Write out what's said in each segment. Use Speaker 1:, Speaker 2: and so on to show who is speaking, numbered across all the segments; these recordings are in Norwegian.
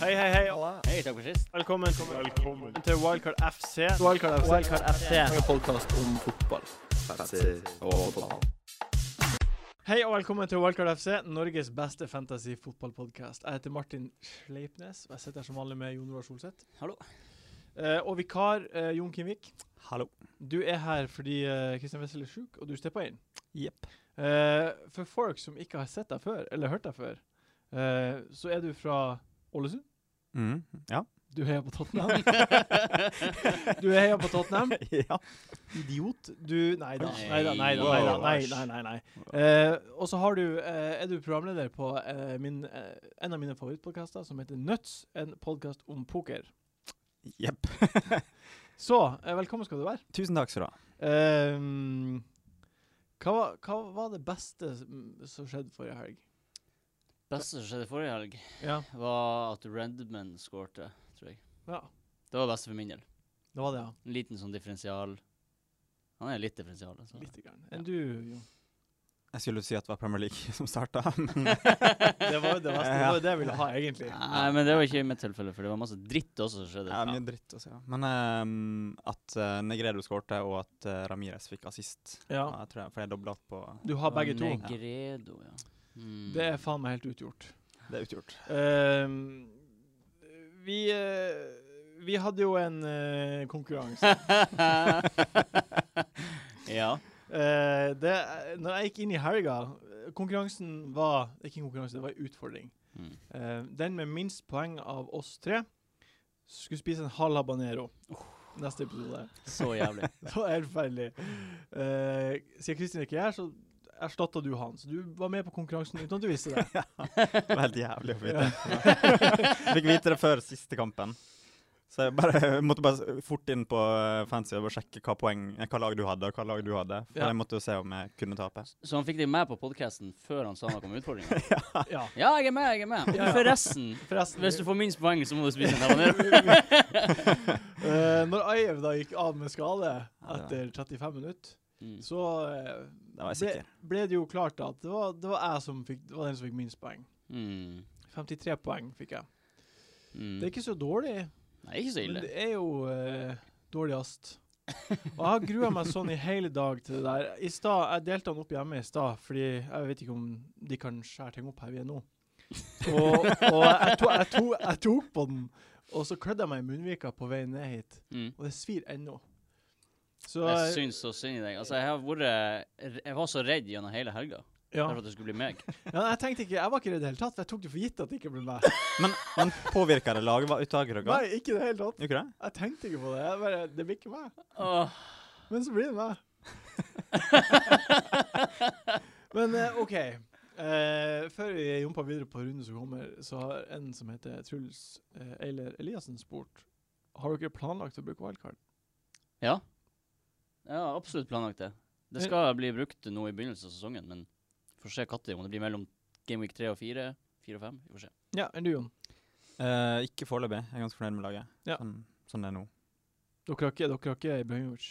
Speaker 1: Hei, hei, hei.
Speaker 2: Hei, takk for sist.
Speaker 1: Velkommen, til Wildcard FC.
Speaker 3: Wildcard FC.
Speaker 2: Wildcard FC.
Speaker 3: En podkast om fotball.
Speaker 1: Hei og velkommen til Wildcard FC, Norges beste fantasy-fotballpodkast. Jeg heter Martin Sleipnes, og jeg sitter her som vanlig med Jon Roar Solseth.
Speaker 2: Hallo.
Speaker 1: Eh, og vikar eh, Jon Kimvik,
Speaker 4: Hallo.
Speaker 1: du er her fordi eh, Kristian Wessel er sjuk, og du steppa inn.
Speaker 4: Jepp.
Speaker 1: Eh, for folk som ikke har sett deg før, eller hørt deg før, eh, så er du fra Ålesund.
Speaker 4: Mm, ja.
Speaker 1: Du heier på Tottenham. du heier på Tottenham.
Speaker 4: ja.
Speaker 1: Idiot. Du Nei da. Nei da, nei da.
Speaker 2: Wow.
Speaker 1: Nei, da, nei, nei, nei, nei. Eh, og så har du, eh, er du programleder på eh, min, eh, en av mine favorittpodkaster, som heter Nuts, en podkast om poker.
Speaker 4: Jepp.
Speaker 1: Så eh, velkommen skal du være.
Speaker 4: Tusen takk skal du ha.
Speaker 1: Eh, hva, var- hva var det beste som som skjedde forrige helg?
Speaker 2: Beste som skjedde forrige helg,
Speaker 1: Ja.
Speaker 2: var at Redman skårte, tror jeg.
Speaker 1: ja.
Speaker 2: Det var det beste for min del.
Speaker 1: Det var det, ja.
Speaker 2: En liten sånn differensial. Han er litt differensial. Altså.
Speaker 1: Lite grann. Enn du, Jon?
Speaker 4: Jeg skulle si at det var Premier League som starta.
Speaker 1: Det var jo det, beste, det, var jo det jeg ville ha, egentlig.
Speaker 2: Nei, men det var ikke i mitt tilfelle, for det var masse dritt også som skjedde.
Speaker 4: ja, mye dritt å si. Ja. Men ehm, at eh, Negredo skårte, og at uh, Ramires fikk assist.
Speaker 1: Ja.
Speaker 4: Ja, jeg tror jeg, for jeg dobla opp på
Speaker 1: Du har begge to.
Speaker 2: Negredo, ja. Mm.
Speaker 1: Det er faen meg helt utgjort.
Speaker 4: Det er utgjort.
Speaker 1: Ehm, vi, eh, vi hadde jo en eh, konkurranse.
Speaker 2: ja.
Speaker 1: Eh, det, når jeg gikk inn i helga eh, Konkurransen var Ikke en konkurranse, det var en utfordring.
Speaker 2: Mm.
Speaker 1: Eh, den med minst poeng av oss tre skulle spise en halv habanero. Neste episode.
Speaker 2: Så jævlig.
Speaker 1: Det var helt forferdelig. Eh, siden Kristin ikke er her, så erstatta du han. Så du var med på konkurransen uten at du visste det.
Speaker 4: Det var helt jævlig å få vite. Fikk vite det før siste kampen. Så jeg bare, jeg måtte bare s- fort inn på eh, Fancy og bare sjekke hva, poeng, eh, hva lag du hadde, og hva lag du hadde. For
Speaker 1: Ja.
Speaker 4: jeg måtte jo se om jeg kunne tape.
Speaker 2: Så han fikk deg med på podkasten før han sa noe om utfordringa?
Speaker 1: Ja.
Speaker 2: Ja, jeg er med, jeg er med.
Speaker 1: Ja, ja.
Speaker 2: Forresten,
Speaker 1: Forresten,
Speaker 2: hvis du får minst poeng, så må du spise en habanero.
Speaker 1: eh, når Ayev da gikk av med skade
Speaker 4: Ja, det var-
Speaker 1: etter 35 minutter
Speaker 2: Mm.
Speaker 1: Så eh,
Speaker 4: Da var
Speaker 1: ble,
Speaker 4: jeg sikker.
Speaker 1: ble det jo klart at det var, det var jeg som fikk, det var den som fikk minst poeng.
Speaker 2: Mm.
Speaker 1: 53 poeng fikk jeg.
Speaker 2: Mm.
Speaker 1: Det er ikke så dårlig,
Speaker 2: Nei, ikke så
Speaker 1: men
Speaker 2: ille.
Speaker 1: det er jo eh, dårlig ast. Og jeg har grua meg sånn i hele dag til det der. I stad, Jeg delte han opp hjemme i stad, fordi jeg vet ikke om de kan skjære ting opp her vi er nå. Og, og jeg, to, jeg, to, jeg tok på den, og så klødde jeg meg i munnvika på vei ned hit.
Speaker 2: Mm.
Speaker 1: Og det svir ennå. Så
Speaker 2: Jeg syns så synd i deg. Altså, jeg har vært Jeg var så redd gjennom hele helga
Speaker 1: eh, ja.
Speaker 2: for at det skulle bli meg.
Speaker 1: ja, jeg tenkte ikke, jeg var ikke redd i det hele tatt, for jeg tok det for gitt at det ikke ble meg.
Speaker 4: Men, men påvirka det laget? Var uttaket dere?
Speaker 1: Nei, ikke i det hele tatt.
Speaker 4: Gjorde ikke det?
Speaker 1: Jeg tenkte ikke på det. Jeg bare, det blir ikke meg.
Speaker 2: Åh.
Speaker 1: Men så blir det meg. Men eh, OK. Eh, før vi jumper videre på runden som kommer, så har en som heter Truls eh, Eiler Eliassen spurt Har dere planlagt å bruke wildcard.
Speaker 2: Ja. Jeg har absolutt planlagt det. Det skal bli brukt nå i begynnelsen av sesongen, men får se når. Om det blir mellom Game Week 3 og 4, 4 og 5. Vi får se.
Speaker 1: Ja, enn du, Jon?
Speaker 4: Eh, ikke foreløpig. Jeg er ganske fornøyd med laget.
Speaker 1: Ja.
Speaker 4: Sånn, sånn det er nå.
Speaker 1: Dere har ikke, dere har ikke Ibrahimovic?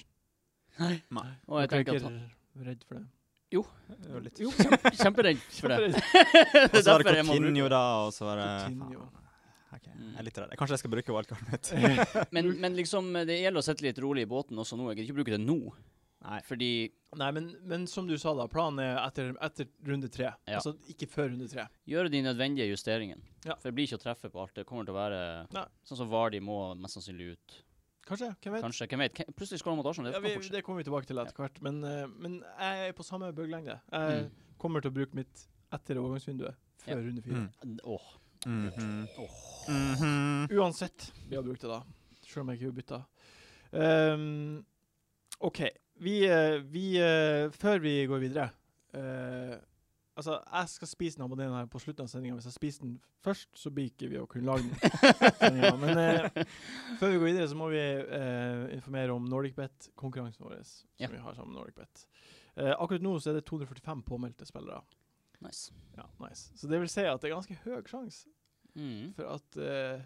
Speaker 2: Nei.
Speaker 4: Nei.
Speaker 2: Og
Speaker 1: Dere
Speaker 2: jeg
Speaker 1: er ikke
Speaker 2: tenker at han
Speaker 1: redd for det?
Speaker 4: Det er jo litt.
Speaker 2: Jo, kjempe, kjemperedd for det.
Speaker 1: Redd.
Speaker 2: Det
Speaker 4: Og
Speaker 2: er
Speaker 4: så var det
Speaker 2: derfor jeg må bruke Mm.
Speaker 4: Coutinho da, og så var det
Speaker 1: Coutinho.
Speaker 4: faen. Ok, jeg er litt redd. Kanskje jeg skal bruke wildcardet mitt.
Speaker 2: Men,
Speaker 1: Mm.
Speaker 2: men liksom, det gjelder å sitte litt rolig i båten også nå. Jeg kan ikke bruke det nå.
Speaker 4: Nei.
Speaker 2: Fordi
Speaker 1: Nei, men, men som du sa, da. Planen er etter, etter runde tre.
Speaker 2: Ja.
Speaker 1: Altså ikke før runde tre.
Speaker 2: gjøre de nødvendige justeringene.
Speaker 1: Ja.
Speaker 2: For det blir ikke å treffe på alt. Det kommer til å være
Speaker 1: Nei.
Speaker 2: sånn som Vardi må mest sannsynlig ut.
Speaker 1: Kanskje? Hvem vet?
Speaker 2: Kanskje. Hvem vet? Hvem- Plutselig skårer mot Arsenal. Det
Speaker 1: Ja,
Speaker 2: kan
Speaker 1: vi,
Speaker 2: fort skje.
Speaker 1: det kommer vi tilbake til etter hvert. Men, eh, men jeg er på samme bølgelengde. Jeg kommer til å bruke mitt etter overgangsvinduet før
Speaker 2: Mm. Ja.
Speaker 1: runde fire.
Speaker 2: Mm. Åh.
Speaker 4: Mhm.
Speaker 2: Åh.
Speaker 4: Mhm.
Speaker 1: Uansett vi har brukt det da. Selv om jeg ikke har bytta. Ehm, OK. Vi, eh, vi eh, Før vi går videre eh, Altså, jeg skal spise den abonneen her på slutten av sendinga. Hvis jeg spiser den først, så blir ikke vi å kunne lage den. sendingen. Men eh, før vi går videre, så må vi eh, informere om NordicBet-konkurransen vår. Som
Speaker 2: Ja.
Speaker 1: vi har sammen med NordicBet. Eh, akkurat nå så er det 245 påmeldte spillere.
Speaker 2: Nice.
Speaker 1: Ja, nice. Så det vil si at det er ganske høy sjanse
Speaker 2: Mm.
Speaker 1: for at, eh,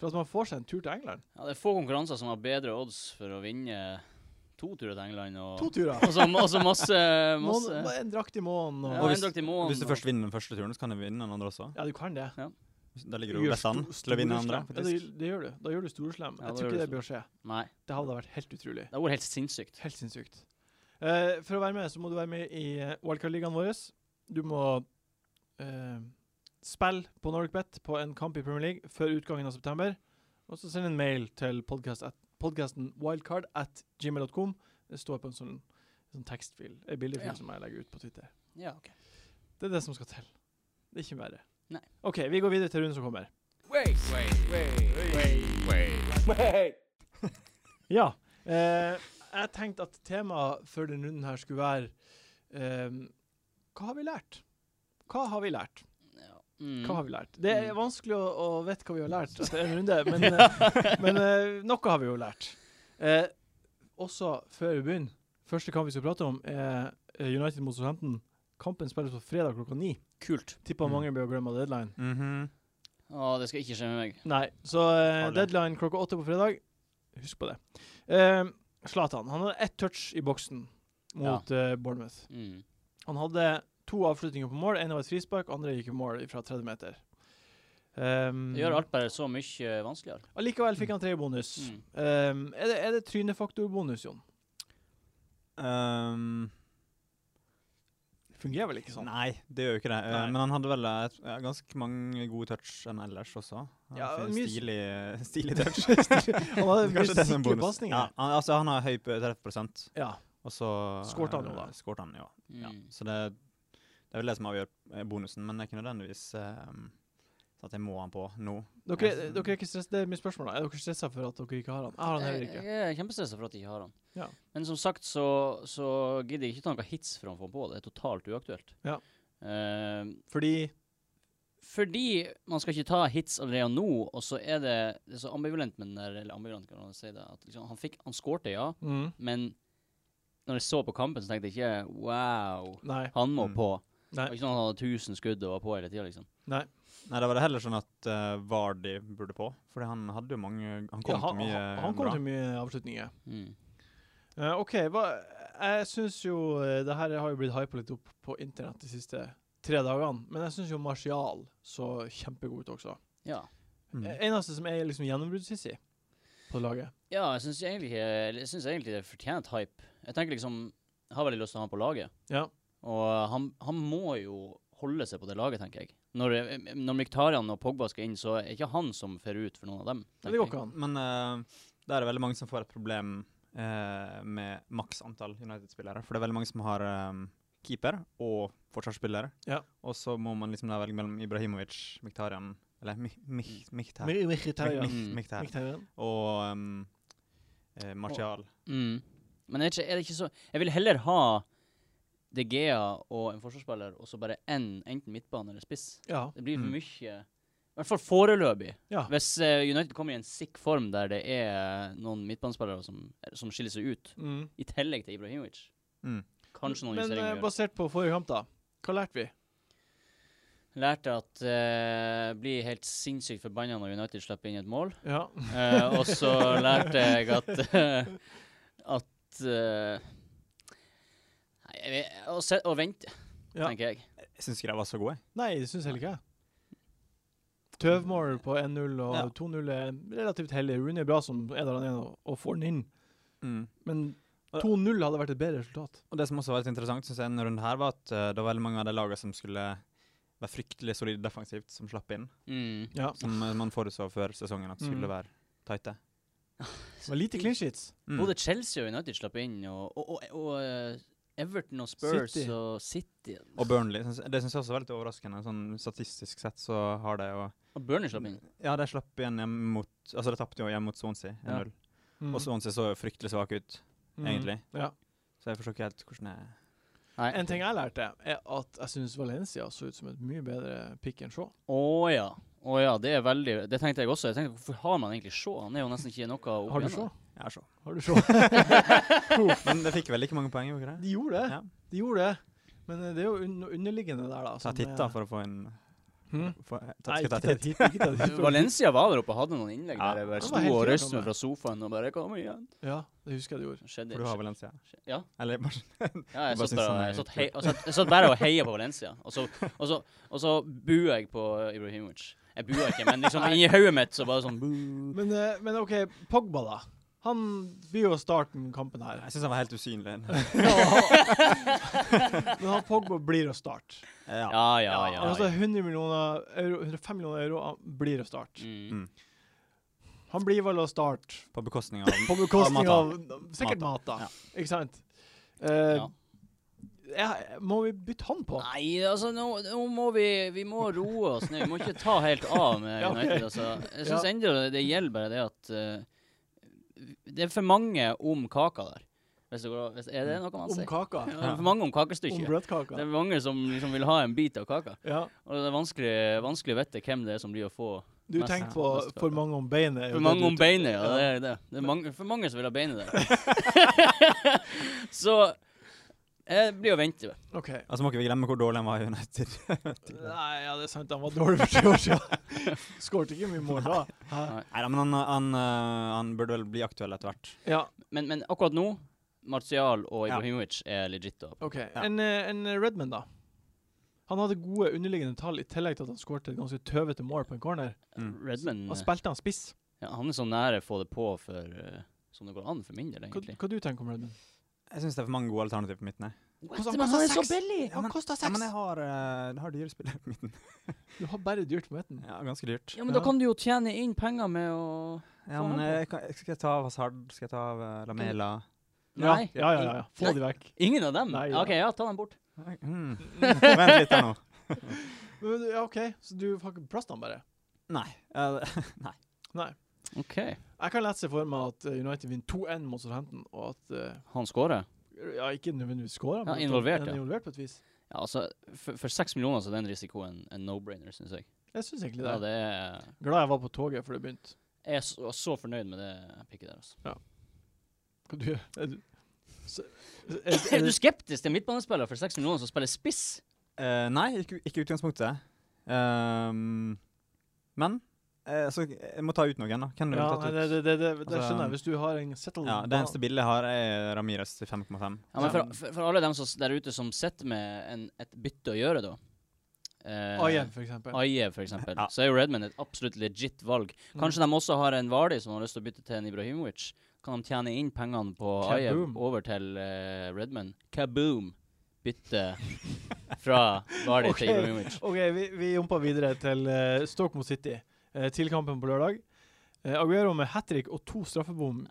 Speaker 1: for at man får seg en tur til England.
Speaker 2: Ja, det er få konkurranser som har bedre odds for å vinne to turer til England. Og,
Speaker 1: To turer!
Speaker 2: og så og så masse,
Speaker 1: Mån,
Speaker 2: masse
Speaker 1: en drakt i månen og
Speaker 2: ja,
Speaker 4: Og
Speaker 2: en
Speaker 4: hvis-
Speaker 2: drakt i måneden.
Speaker 4: Hvis du først vinner den første turen, så kan du vinne den andre også.
Speaker 1: Ja, du kan det.
Speaker 2: Ja.
Speaker 4: Da ligger du jo best an til å vinne andre.
Speaker 1: Ja, det, det gjør du. Da gjør du storeslem.
Speaker 2: Ja,
Speaker 1: jeg
Speaker 2: da
Speaker 1: tror
Speaker 2: gjør
Speaker 1: ikke
Speaker 2: du
Speaker 1: det bør skje.
Speaker 2: Nei.
Speaker 1: Det hadde vært helt utrolig.
Speaker 2: Det var helt sinnssykt.
Speaker 1: Helt sinnssykt. Eh, for å være med, så må du være med i eh, wildcard-ligaen vår. Du må eh, spille på NordicBet på en kamp i Premier League før utgangen av september. Og så send en mail til podcast at, podcasten wildcard at gmail.com. Det står på en sånn, en sånn tekstfil, en bildefil
Speaker 2: Ja.
Speaker 1: som jeg legger ut på Twitter.
Speaker 2: Ja, ok.
Speaker 1: Det er det som skal til. Det er ikke verre.
Speaker 2: Nei.
Speaker 1: OK, vi går videre til runden som kommer. Ja. Eh, jeg tenkte at temaet for denne runden her skulle være eh, Hva har vi lært? Hva har vi lært?
Speaker 2: Ja. Mm.
Speaker 1: Hva har vi lært? Det er
Speaker 2: Mm.
Speaker 1: vanskelig å, å vite hva vi har lært etter en runde, men, eh, men eh, noe har vi jo lært. Eh, også før vi begynner, første kamp vi skal prate om, er eh, United mot Southampton. Kampen spilles på fredag klokka ni.
Speaker 2: Kult.
Speaker 1: Tipper
Speaker 4: Mm.
Speaker 1: mange blir å glemme deadline.
Speaker 4: Mhm.
Speaker 2: Å, det skal ikke skje med meg.
Speaker 1: Nei, så eh,
Speaker 4: Farlig.
Speaker 1: deadline klokka åtte på fredag. Husk på det. Eh, Zlatan han hadde ett touch i boksen mot eh, Bournemouth.
Speaker 2: Mm.
Speaker 1: Han hadde to avslutninger på mål. Én var et frispark, andre gikk i mål fra 30 meter. Um,
Speaker 2: Det gjør alt bare så mye vanskeligere.
Speaker 1: Allikevel fikk han tre bonus.
Speaker 2: Mm.
Speaker 1: Um, er det, er det trynefaktorbonus, Jon?
Speaker 4: Ehm,
Speaker 1: Fungerer vel ikke sånn?
Speaker 4: Nei, det gjør jo ikke det. Eh,
Speaker 1: Nei.
Speaker 4: Men han hadde vel eh, et- ja, ganske mange gode touch enn ellers også. Han
Speaker 1: Ja,
Speaker 4: fin-
Speaker 1: mye s-
Speaker 4: stilig, stilig touch.
Speaker 1: han hadde mye
Speaker 4: Kanskje det som
Speaker 1: sikre
Speaker 4: bonus.
Speaker 1: pasninger.
Speaker 4: Ja, han, altså, han har høy på 30
Speaker 1: Ja.
Speaker 4: og så
Speaker 1: Skårte han jo,
Speaker 4: eh,
Speaker 1: da.
Speaker 4: skårte han, ja.
Speaker 2: Mm.
Speaker 4: ja. Så det, det er vel det som avgjør eh, bonusen, men det er ikke nødvendigvis eh, sånn at jeg må han på nå.
Speaker 1: Dere, dere er ikke stress, det er mitt spørsmål. da. Er dere stressa for at dere ikke har han? Jeg har han heller
Speaker 2: Jeg,
Speaker 1: ikke.
Speaker 2: jeg er kjempestressa for at jeg ikke har han.
Speaker 1: Ja.
Speaker 2: Men som sagt så, så gidder jeg ikke ta noen hits for han får på. Det er totalt uaktuelt.
Speaker 1: Ja.
Speaker 2: Eh,
Speaker 1: Fordi
Speaker 2: fordi man skal ikke ta hits allerede nå, og så er det, det er så ambivalent med den der Eller ambivalent, kan man si det. At liksom, han fikk Han skårte, ja,
Speaker 1: mm,
Speaker 2: men når jeg så på kampen, så tenkte jeg ikke wow,
Speaker 1: Nei.
Speaker 2: han må
Speaker 4: Mm.
Speaker 2: på.
Speaker 1: Nei.
Speaker 2: Det var ikke sånn at han hadde 1000 skudd og var på hele tida, liksom.
Speaker 1: Nei.
Speaker 4: Nei, da var det heller sånn at eh, Vardy burde på, fordi han hadde jo mange Han kom
Speaker 1: Ja, han,
Speaker 4: til mye
Speaker 1: han, han kom
Speaker 4: bra.
Speaker 1: til mye avslutninger.
Speaker 2: Mm.
Speaker 1: Eh, OK. Hva, jeg syns jo eh, det her har jo blitt hypa litt opp på internett de siste tre dagene. Men jeg syns jo Martial så kjempegod ut også.
Speaker 2: Ja.
Speaker 1: Eh,
Speaker 4: Mm.
Speaker 1: Eneste som er liksom gjennombrudd-Sissi på laget.
Speaker 2: Ja, jeg syns egentlig, jeg synes egentlig det er fortjent hype. Jeg tenker liksom Jeg har veldig lyst til å ha han på laget.
Speaker 1: Ja.
Speaker 2: Og han, han må jo holde seg på det laget, tenker jeg. Når, når Mkhitaryan og Pogba skal inn, så er ikke han som fer ut for noen av dem.
Speaker 1: Men det går
Speaker 2: tenker jeg.
Speaker 1: ikke an.
Speaker 4: Men eh, da er det veldig mange som får et problem eh, med maks antall United-spillere. For det er veldig mange som har eh, keeper og forsvarsspillere.
Speaker 1: Ja.
Speaker 4: Og så må man liksom da velge mellom Ibrahimovic, Miktarian Eller Mi- Mi- Miktar Mi-
Speaker 1: Mi- Mkhitaryan.
Speaker 4: Mi-
Speaker 2: Mm.
Speaker 4: Miktar
Speaker 1: Mkhitaryan.
Speaker 4: og um, eh, Martial.
Speaker 2: Mm. Men er det, ikke, er det ikke så Jeg vil heller ha De Gea og en forsvarsspiller, og så bare én, enten midtbane eller spiss.
Speaker 1: Ja.
Speaker 2: Det blir for
Speaker 4: Mm.
Speaker 2: mye I hvert fall foreløpig.
Speaker 1: Ja.
Speaker 2: Hvis eh, United kommer i en sick form der det er noen midtbanespillere som, som skiller seg ut,
Speaker 1: Mm.
Speaker 2: i tillegg til Ibrahimovic
Speaker 4: Mm.
Speaker 2: Kanskje noen
Speaker 1: Men eh,
Speaker 2: justeringer. gjøres.
Speaker 1: basert på forrige kamp, da. Hva lærte vi?
Speaker 2: Lærte at eh, blir helt sinnssykt forbanna når United slipper inn et mål.
Speaker 1: Ja.
Speaker 2: Eh, og så lærte jeg at eh, at eh, Nei, jeg vet- å, se, å vente,
Speaker 1: Ja.
Speaker 2: tenker jeg.
Speaker 4: Jeg syns ikke de var så gode. jeg.
Speaker 1: Nei, det syns heller ikke jeg. Tøvmål på 1-0 og
Speaker 4: Ja.
Speaker 1: 2-0 er relativt hellig. Rooney er bra som er der han er og- og får den inn. Men
Speaker 4: Og-
Speaker 1: 2-0 hadde vært et bedre resultat.
Speaker 4: Mm. Og det som også var litt interessant, synes jeg, denne runden her, var at eh, det var veldig mange av de lagene som skulle være fryktelig solide defensivt, som slapp inn.
Speaker 2: Mm.
Speaker 1: Ja.
Speaker 4: Som eh, man forutså før sesongen at skulle
Speaker 1: Mm.
Speaker 4: være tighte.
Speaker 1: Det var lite clean sheets.
Speaker 4: Mm.
Speaker 2: Både Chelsea og United slapp inn, og, og, og, og eh, Everton og Spurs
Speaker 1: City.
Speaker 2: og City
Speaker 4: Og Burnley. Syns, det syns jeg også var litt overraskende. Sånn Statistisk sett så har de jo
Speaker 2: Og Burnley slapp inn.
Speaker 4: Ja, de slapp igjen hjemme mot Altså, de tapte jo hjemme mot Swansea 1-0.
Speaker 1: Mm.
Speaker 4: Og Swansea så jo fryktelig svake ut,
Speaker 1: Mm.
Speaker 4: egentlig.
Speaker 1: Ja.
Speaker 4: Så jeg forstår ikke helt hvordan jeg
Speaker 2: Nei.
Speaker 1: En ting jeg lærte, er at jeg syns Valencia så ut som et mye bedre pick enn Shaw.
Speaker 2: Å ja. Å ja, det er veldig Det tenkte jeg også. Jeg tenkte, Hvorfor har man egentlig Shaw? Han er jo nesten ikke noe opp
Speaker 1: Har du Shaw?
Speaker 2: igjennom.
Speaker 4: Jeg er så.
Speaker 1: Har du Shaw?
Speaker 4: Men de fikk vel ikke mange poeng, gjorde de ikke det?
Speaker 1: De gjorde det.
Speaker 4: Ja.
Speaker 1: De gjorde det. Men eh, det er jo un noe underliggende der, da.
Speaker 4: Ta
Speaker 1: som
Speaker 4: titt,
Speaker 1: er-
Speaker 4: da, for å få en
Speaker 1: Hm?
Speaker 4: få- ta-
Speaker 1: Sånn, Nei,
Speaker 4: Skal
Speaker 1: ikke
Speaker 4: ta
Speaker 1: ta
Speaker 4: titt?
Speaker 1: titt. Ikke ta titt.
Speaker 2: Valencia var der oppe og hadde noen innlegg
Speaker 4: Ja.
Speaker 2: der
Speaker 1: Det var
Speaker 2: jeg bare sto
Speaker 1: helt
Speaker 2: og
Speaker 1: helt
Speaker 2: røste
Speaker 1: gammel.
Speaker 2: meg fra sofaen og bare Kom igjen.
Speaker 1: Ja, det husker jeg du gjorde.
Speaker 2: Skjedde
Speaker 4: For du har Valencia.
Speaker 2: skje- Ja.
Speaker 4: Eller bare
Speaker 2: ja jeg, satt
Speaker 4: bare synes
Speaker 2: bare,
Speaker 4: han er
Speaker 2: jeg, satt
Speaker 4: kul.
Speaker 2: hei, jeg, satt, jeg satt bare og heia på Valencia, og så, og så, og så buer jeg på Ibrahimovic. Jeg buer ikke, men liksom inni hodet mitt så bare sånn boo.
Speaker 1: Men, eh, men OK, Pogba, da. Han blir jo starten kampen her.
Speaker 4: Jeg syns han var helt usynlig.
Speaker 1: Men han Pogba blir å starte.
Speaker 4: Eh, Ja.
Speaker 2: Ja, ja, ja.
Speaker 1: Han koster
Speaker 2: ja.
Speaker 1: 100 millioner euro, 105 millioner euro, han blir å starte.
Speaker 2: Mm.
Speaker 4: Mm.
Speaker 1: Han blir vel å starte
Speaker 4: På bekostning av
Speaker 1: på bekostning
Speaker 4: Mata.
Speaker 1: av sikkert Mata,
Speaker 4: Ja.
Speaker 1: ikke sant? Eh,
Speaker 2: Ja.
Speaker 1: ja, må vi bytte han på?
Speaker 2: Nei, altså nå, nå må vi Vi må roe oss ned. Vi må ikke ta helt av med
Speaker 1: Ja, ok.
Speaker 2: United. Altså. Jeg
Speaker 1: Ja.
Speaker 2: syns ennå det gjelder bare det at eh, Det er for mange om kaka der. Hvis det går, an- hvis, er det noe man
Speaker 1: Om
Speaker 2: sier?
Speaker 1: kaka?
Speaker 2: Ja, det er for mange om
Speaker 1: Om
Speaker 2: kakestykket.
Speaker 1: bløtkaka?
Speaker 2: Det er mange som liksom vil ha en bit av kaka.
Speaker 1: Ja.
Speaker 2: Og det er vanskelig, vanskelig å vite hvem det er som blir å få
Speaker 1: Du
Speaker 2: Mest-
Speaker 1: tenker på
Speaker 2: mest
Speaker 1: for mange om beinet. er jo
Speaker 2: For
Speaker 1: det
Speaker 2: mange
Speaker 1: du
Speaker 2: om
Speaker 1: t-
Speaker 2: beinet, ja.
Speaker 1: ja.
Speaker 2: Det er det. det er mange, for mange som vil ha beinet der. så jeg blir å vente.
Speaker 1: OK.
Speaker 4: Altså må ikke vi glemme hvor dårlig han var i United.
Speaker 1: Nei, ja, det er sant. Han var dårlig for ti år siden. Skårte ikke mye mål da. Hæ?
Speaker 4: Neida, men han, han, øh, han burde vel bli aktuell etter hvert.
Speaker 1: Ja,
Speaker 2: Men, men akkurat nå, Martial og
Speaker 4: Ja.
Speaker 2: Ibrahimovic er legit. Da.
Speaker 1: OK. En, eh, en Redman, da? Han hadde gode underliggende tall, i tillegg til at han skårte et ganske tøvete mål på en corner.
Speaker 4: Mm.
Speaker 2: Redman
Speaker 1: Og
Speaker 2: eh,
Speaker 1: spilte han spiss.
Speaker 2: ja, han er så nære å få det på for eh, som det går an, for min del,
Speaker 1: Hva,
Speaker 2: egentlig.
Speaker 1: hva du tenker om Redman?
Speaker 4: Jeg syns det er for mange gode alternativer på midten. jeg.
Speaker 1: Hvordan han koster seks?
Speaker 4: Ja, men-
Speaker 1: Han kosta
Speaker 4: Ja, men
Speaker 1: seks!
Speaker 4: jeg har, øh, jeg har dyre spillere på midten.
Speaker 1: Du har bare dyrt på midten.
Speaker 4: Ja, Ganske dyrt.
Speaker 2: Ja, men da kan du jo tjene inn penger med å
Speaker 4: Ja, men jeg, kan- skal jeg ta av Hazard? Skal jeg ta av øh, Lamela?
Speaker 2: Nei.
Speaker 1: Ja, ja, ja. ja. Få
Speaker 2: Nei.
Speaker 1: de vekk.
Speaker 2: Ingen av dem?
Speaker 1: Nei,
Speaker 2: Ja,
Speaker 1: ja.
Speaker 2: OK, ja, ta dem bort.
Speaker 4: Mm. Vent litt her nå.
Speaker 1: Men, men, ja, OK, så du har ikke plass til han bare?
Speaker 4: Nei. Ja,
Speaker 1: Nei.
Speaker 2: OK.
Speaker 1: Jeg kan lett se for meg at eh, United vinner 2-1 mot Southampton, og at eh,
Speaker 2: Han scorer.
Speaker 1: Ja, ikke nødvendigvis skåra,
Speaker 2: Ja, involvert,
Speaker 1: ja.
Speaker 2: ja.
Speaker 1: involvert på et vis.
Speaker 2: Ja, altså, for, for seks millioner så er den risikoen en no-brainer, syns jeg.
Speaker 1: Jeg syns egentlig det.
Speaker 2: Ja, det er
Speaker 1: Glad jeg var på toget før det begynte.
Speaker 2: Jeg er så, så fornøyd med det pikket der. altså.
Speaker 1: Hva du gjør? Er du S- er, er,
Speaker 2: Er du
Speaker 1: det-
Speaker 2: skeptisk til en midtbanespiller for 6 millioner som spiller spiss?
Speaker 4: Eh, nei, ikke, ikke utgangspunktet. Ehm, men eh, så jeg må ta ut noen, da. Hvem
Speaker 1: ja,
Speaker 4: vil
Speaker 1: nei,
Speaker 4: jeg
Speaker 1: det,
Speaker 4: tatt ut?
Speaker 1: det, det, det, det
Speaker 4: Altså,
Speaker 1: skjønner jeg. Hvis du har en settle
Speaker 4: Ja, det eneste bildet jeg har, er Ramires til 5,5.
Speaker 2: Ja, men for,
Speaker 1: Ja.
Speaker 2: for, for alle dem som, s- der ute som sitter med en, et bytte å gjøre, da. Eh,
Speaker 1: Ayen, for eksempel.
Speaker 2: Aie, for eksempel.
Speaker 4: Ja.
Speaker 2: Så er jo Redman et absolutt legit valg.
Speaker 1: Mm.
Speaker 2: Kanskje de også har en Vardy som har lyst til å bytte til en Ibrahimovic. Kan de tjene inn pengene på Aie
Speaker 1: Kaboom.
Speaker 2: over til eh, Redman? Kaboom! Bytte fra Vardy
Speaker 1: Ok.
Speaker 2: til Ibrahimovic.
Speaker 1: OK, vi, vi jumper videre til eh, Stoke mot City. eh, til kampen på lørdag. Eh, Aguero med hat trick og to straffebom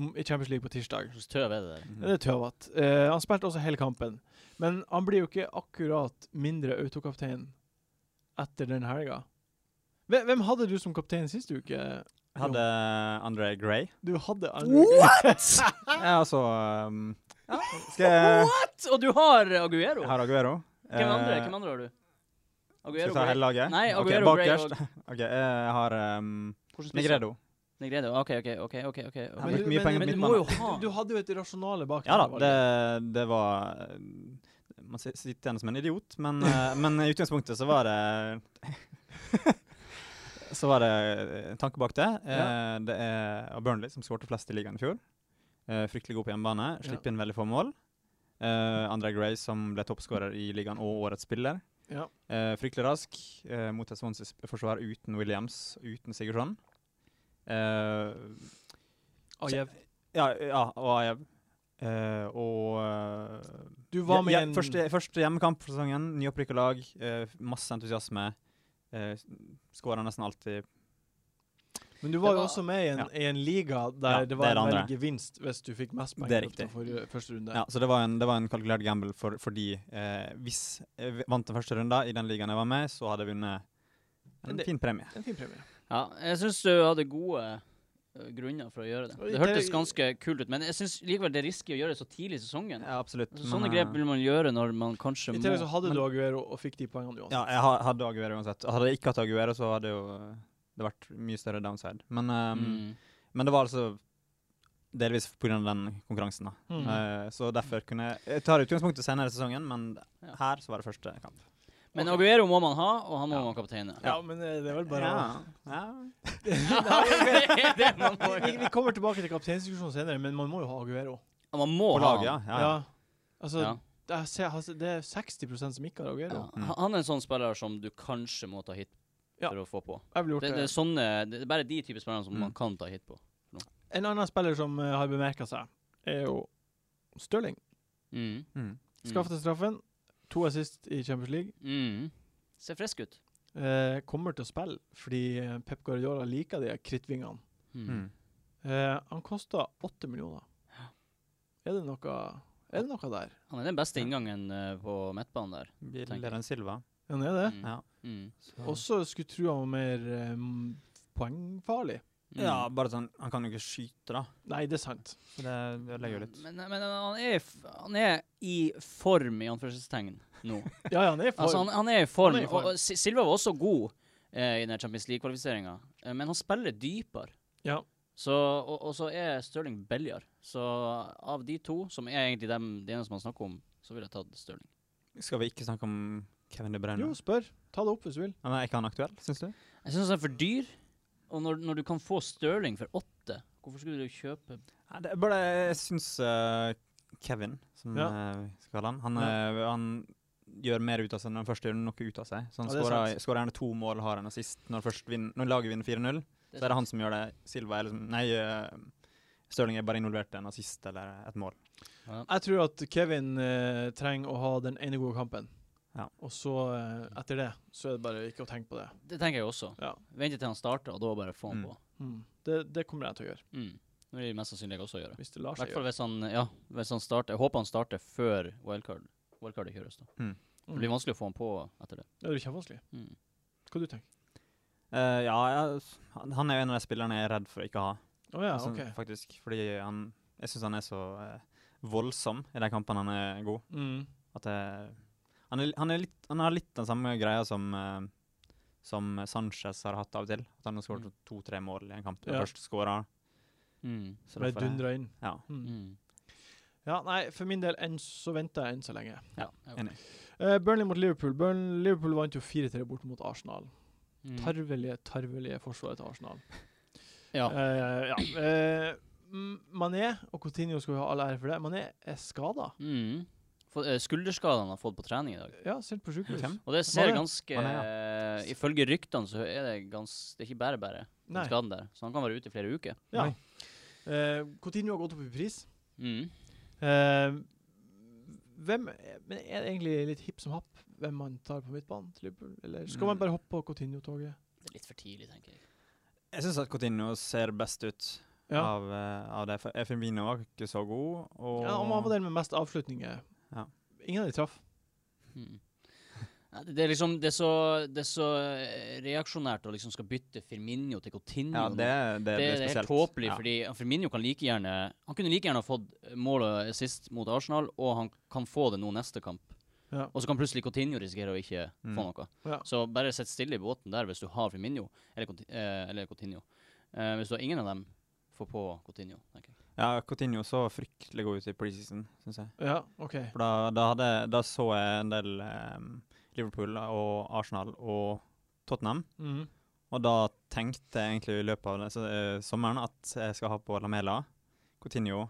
Speaker 1: m- i Champions League på tirsdag.
Speaker 2: Hvordan tøv er det der?
Speaker 1: Det er tøvete. Eh, han spilte også hele kampen. Men han blir jo ikke akkurat mindre autokaptein etter den helga. Hvem, hvem hadde du som kaptein sist uke?
Speaker 4: Jeg hadde André Gray.
Speaker 1: Du hadde
Speaker 2: What?!
Speaker 4: Ja, altså ehm, ja. Skal jeg
Speaker 2: What?! Og du har Aguero!
Speaker 4: Jeg har Aguero.
Speaker 2: Hvem andre,
Speaker 4: Eh,
Speaker 2: hvem andre har du?
Speaker 4: Skal
Speaker 2: Aguero
Speaker 4: jeg ta
Speaker 2: Gray?
Speaker 4: hele laget?
Speaker 2: Nei,
Speaker 4: Ok,
Speaker 2: Aguero Gray
Speaker 4: bakerst.
Speaker 2: og-
Speaker 4: OK, eh, jeg har ehm,
Speaker 2: Hvordan spiser
Speaker 4: Negredo.
Speaker 2: du? Negredo. OK, OK. ok, ok, ok.
Speaker 4: Jeg
Speaker 1: Men
Speaker 4: har
Speaker 2: ok.
Speaker 1: du-
Speaker 4: brukt mye penger
Speaker 2: Men
Speaker 4: på
Speaker 2: du må jo
Speaker 4: midtbanen.
Speaker 2: ha
Speaker 1: Du hadde jo et rasjonale bak
Speaker 4: Ja da,
Speaker 1: deg,
Speaker 4: det,
Speaker 1: valget.
Speaker 4: det var eh, Man si- sitter igjen som en idiot, men, eh, men i utgangspunktet så var det Så var det eh, tanke bak det. Eh,
Speaker 1: Ja.
Speaker 4: Det er av Burnley som skårte flest i ligaen i fjor. Eh, Fryktelig god på hjemmebane. Slipper inn veldig få mål. Eh, André Gray som ble toppskårer i ligaen og årets spiller.
Speaker 1: Ja.
Speaker 4: Eh, fryktelig rask eh, mot et Swansea-forsvar uten Williams, uten Sigurdsson. Eh,
Speaker 1: Ajev.
Speaker 4: ja, ja, og Ajev. Eh, og eh,
Speaker 1: Du var med i
Speaker 4: ja,
Speaker 1: en
Speaker 4: første, første hjemmekamp for sesongen. Nyopprykka lag. eh, masse entusiasme. Uh, Skåra nesten alltid.
Speaker 1: Men du var jo
Speaker 2: Det var-
Speaker 1: også med i en,
Speaker 4: Ja.
Speaker 1: i en liga der
Speaker 4: Ja,
Speaker 1: det var
Speaker 4: det er
Speaker 1: en
Speaker 4: det andre.
Speaker 1: veldig gevinst hvis du fikk mest poeng
Speaker 4: Det er
Speaker 1: i løpet av
Speaker 4: riktig.
Speaker 1: forrige- første runde.
Speaker 4: Ja, så det var en, det var en kalkulert gamble for, fordi eh, hvis jeg vant den første runden i den ligaen jeg var med, så hadde jeg vunnet
Speaker 1: Men
Speaker 4: en
Speaker 1: det-
Speaker 4: fin premie.
Speaker 1: En fin premie.
Speaker 2: Ja, jeg syns du hadde gode eh, grunner for å gjøre det.
Speaker 1: Og i
Speaker 2: Det hørtes
Speaker 1: tillegg-
Speaker 2: ganske kult ut, men jeg syns likevel det er risky å gjøre det så tidlig i sesongen.
Speaker 4: Ja, absolutt.
Speaker 2: Altså, sånne
Speaker 4: men, eh,
Speaker 2: grep vil man gjøre når man kanskje
Speaker 1: I
Speaker 2: må
Speaker 1: tillegg så hadde
Speaker 4: men-
Speaker 1: du Aguero og fikk de poengene uansett.
Speaker 4: Ja, jeg ha- hadde Aguero uansett. Hadde jeg ikke hatt Aguero, så hadde jo eh, det vært mye større downside. Men, eh,
Speaker 2: Mm.
Speaker 4: men det var altså delvis pga. den konkurransen, da.
Speaker 1: Mm.
Speaker 4: Eh, så derfor kunne jeg Jeg tar utgangspunktet senere i sesongen, men
Speaker 2: Ja.
Speaker 4: her så var det første kamp.
Speaker 2: Men
Speaker 1: Ok.
Speaker 2: Aguero må man ha, og han må
Speaker 4: Ja.
Speaker 2: man kapteine.
Speaker 1: Ja, men eh, det er vel bare å-
Speaker 4: ja.
Speaker 2: det er det man må
Speaker 1: vi,
Speaker 2: gjøre.
Speaker 1: vi kommer tilbake til kapteinsdiskusjonen senere, men man må jo ha Aguero.
Speaker 2: Ja, Man må
Speaker 4: På
Speaker 2: ha
Speaker 4: laget, ja.
Speaker 2: han.
Speaker 4: ja, ja.
Speaker 1: Altså,
Speaker 2: Ja.
Speaker 1: det er- se- altså, det er 60 som ikke har Aguero.
Speaker 2: Ja. Han er en sånn spiller som du kanskje må ta hit
Speaker 1: Ja.
Speaker 2: for å få på.
Speaker 1: Jeg ville gjort
Speaker 2: Det,
Speaker 1: det.
Speaker 2: det er sånne, det er bare de type spillerne som
Speaker 4: Mm.
Speaker 2: man kan ta hit på.
Speaker 1: En annen spiller som eh, har bemerka seg, er jo Stirling.
Speaker 2: Mm.
Speaker 4: Mm.
Speaker 1: Skaffet til straffen. To assist i Champions League.
Speaker 2: Mm. Ser frisk ut.
Speaker 1: Eh, kommer til å spille fordi eh, Pep Guardiola liker de her krittvingene.
Speaker 4: Mm.
Speaker 1: Eh, han koster åtte millioner. Er det noe Er det noe der?
Speaker 2: Han er den beste inngangen eh, på midtbanen der.
Speaker 4: Billigere enn Silva.
Speaker 1: Han er det.
Speaker 2: Mm.
Speaker 4: Ja.
Speaker 2: Mm.
Speaker 1: Også skulle tro han var mer eh, m- poengfarlig.
Speaker 2: Mm.
Speaker 4: ja, bare sånn Han kan jo ikke skyte, da.
Speaker 1: Nei, det er sant.
Speaker 4: Så det ødelegger jo litt.
Speaker 2: Men, men han, er, f- han er i form, i anførselstegn, nå.
Speaker 1: Ja, ja, han er for
Speaker 2: Altså, han, han er i form.
Speaker 1: Han er i form.
Speaker 2: Og, og Si- Silva var også god eh, i den Champions League-kvalifiseringa, eh, men han spiller dypere.
Speaker 1: Ja.
Speaker 2: Så, og, og så er Stirling billigere. Så av de to, som er egentlig dem, de eneste man snakker om, så ville jeg tatt Stirling.
Speaker 4: Skal vi ikke snakke om Kevin De Bruyne?
Speaker 1: Jo, spør. Ta det opp hvis du vil.
Speaker 4: Han er ikke han aktuell, syns du?
Speaker 2: Jeg syns han er for dyr, og når, når du kan få Stirling for åtte, hvorfor skulle du kjøpe
Speaker 4: Nei, det er bare Jeg syns eh, Kevin, som
Speaker 1: Ja.
Speaker 4: eh, vi skal kalle han, han, eh, han gjør mer ut av seg når han først gjør noe ut av seg. Så han
Speaker 1: Ja, det er
Speaker 4: skårer- skårer gjerne to mål, har en assist. Når, først vin, når laget vinner 4-0, så er det han som gjør det. Silva er liksom Nei, uh, Stirling er bare involvert i en assist eller et mål.
Speaker 1: Jeg tror at Kevin eh, trenger å ha den ene gode kampen.
Speaker 4: Ja.
Speaker 1: Og så, eh, etter det, så er det bare ikke å tenke på det.
Speaker 2: Det tenker jeg også.
Speaker 1: Ja.
Speaker 2: Vente til han starter, og da bare få han
Speaker 4: Mm.
Speaker 2: på.
Speaker 1: Mm. Det, det kommer jeg til å gjøre,
Speaker 2: Mm. Det vil mest sannsynlig jeg også gjøre.
Speaker 1: hvis det lar
Speaker 2: I
Speaker 1: seg
Speaker 2: hvert fall
Speaker 1: gjøre.
Speaker 2: hvis han, ja, hvis han starter. Jeg håper han starter før wildcard. Wildcardet kjøres, da.
Speaker 4: Mm.
Speaker 2: Det blir vanskelig å få han på etter det.
Speaker 1: Ja, det er kjempevanskelig.
Speaker 2: Mm.
Speaker 1: Hva du tenker
Speaker 4: Eh, ja, jeg, han- han er jo en av de spillerne jeg er redd for å ikke ha.
Speaker 1: Å ja,
Speaker 4: altså,
Speaker 1: OK.
Speaker 4: Faktisk, fordi han Jeg syns han er så eh, voldsom i de kampene han er god.
Speaker 1: Mm.
Speaker 4: At jeg, han, er, han, er litt, han har litt den samme greia som, eh, som Sanchez har hatt av og til. At han har skåret
Speaker 2: Mm.
Speaker 4: to-tre mål i en kamp. når
Speaker 1: Ja.
Speaker 4: Først skårer han.
Speaker 2: Mm.
Speaker 4: så
Speaker 1: Ble
Speaker 4: derfor er-
Speaker 1: dundra inn.
Speaker 4: Ja.
Speaker 1: Mm.
Speaker 2: Mm.
Speaker 1: Ja, nei, for min del enn så venter jeg enn så lenge.
Speaker 2: Ja. ja.
Speaker 4: Enig.
Speaker 1: Eh, Burnley mot Liverpool. Burn Liverpool vant jo 4-3 bort mot Arsenal.
Speaker 2: Mm.
Speaker 1: Tarvelige, tarvelige forsvaret til Arsenal.
Speaker 2: ja.
Speaker 1: Eh, ja. Eh, M- Mané og Coutinho skal vi ha all ære for det. Mané er skada.
Speaker 2: Mm. For, eh, skulderskadene han har fått på trening i dag.
Speaker 1: Ja, sendt på sykehus.
Speaker 4: Hvem?
Speaker 2: Og det ser
Speaker 1: er-
Speaker 2: ganske
Speaker 4: han er,
Speaker 2: eh, Ifølge ryktene så er det gans, Det er ikke bare bare, den
Speaker 1: Nei.
Speaker 2: skaden der. Så han kan være ute i flere uker.
Speaker 1: Ja.
Speaker 4: Nei.
Speaker 1: Eh, Coutinho har gått opp i pris.
Speaker 2: Mm.
Speaker 1: Eh, hvem Men er det egentlig litt hipp som happ hvem man tar på midtbanen til Liverpool? Eller skal man
Speaker 4: Mm.
Speaker 1: bare hoppe på Coutinho-toget?
Speaker 2: Det er litt for tidlig, tenker jeg.
Speaker 4: Jeg syns at Coutinho ser best ut
Speaker 1: Ja.
Speaker 4: av, eh, av det. For Efimino var ikke så god. Og
Speaker 1: ja, han var den med mest avslutninger.
Speaker 4: Ja.
Speaker 1: Ingen av de traff.
Speaker 2: Mm. Nei, det- Det er liksom Det er så, det er så eh, reaksjonært å liksom skal bytte Firminio til Coutinho.
Speaker 4: ja,
Speaker 2: nå.
Speaker 4: det, det,
Speaker 2: Mm. det,
Speaker 4: blir
Speaker 2: det er helt
Speaker 4: spesielt.
Speaker 2: tåpelig,
Speaker 4: Ja.
Speaker 2: fordi Firmino kan like gjerne Han kunne like gjerne ha fått målet sist mot Arsenal, og han kan få det nå neste kamp.
Speaker 1: Ja.
Speaker 2: Og så kan plutselig Coutinho risikere å ikke
Speaker 4: Mm.
Speaker 2: få noe.
Speaker 1: Ja.
Speaker 2: Så bare sitt stille i båten der hvis du har Firmino eller, Couti- eh, eller Coutinho. Eh, hvis du har ingen av dem, få på Coutinho, tenker jeg.
Speaker 4: ja, Coutinho så fryktelig god ut i preseason, syns jeg.
Speaker 1: Ja, OK.
Speaker 4: For da, da, hadde, da så jeg en del eh, Liverpool og Arsenal og Tottenham.
Speaker 1: Mm.
Speaker 4: Og da tenkte jeg egentlig i løpet av den, så, eh, sommeren at jeg skal ha på Lamela, Coutinho,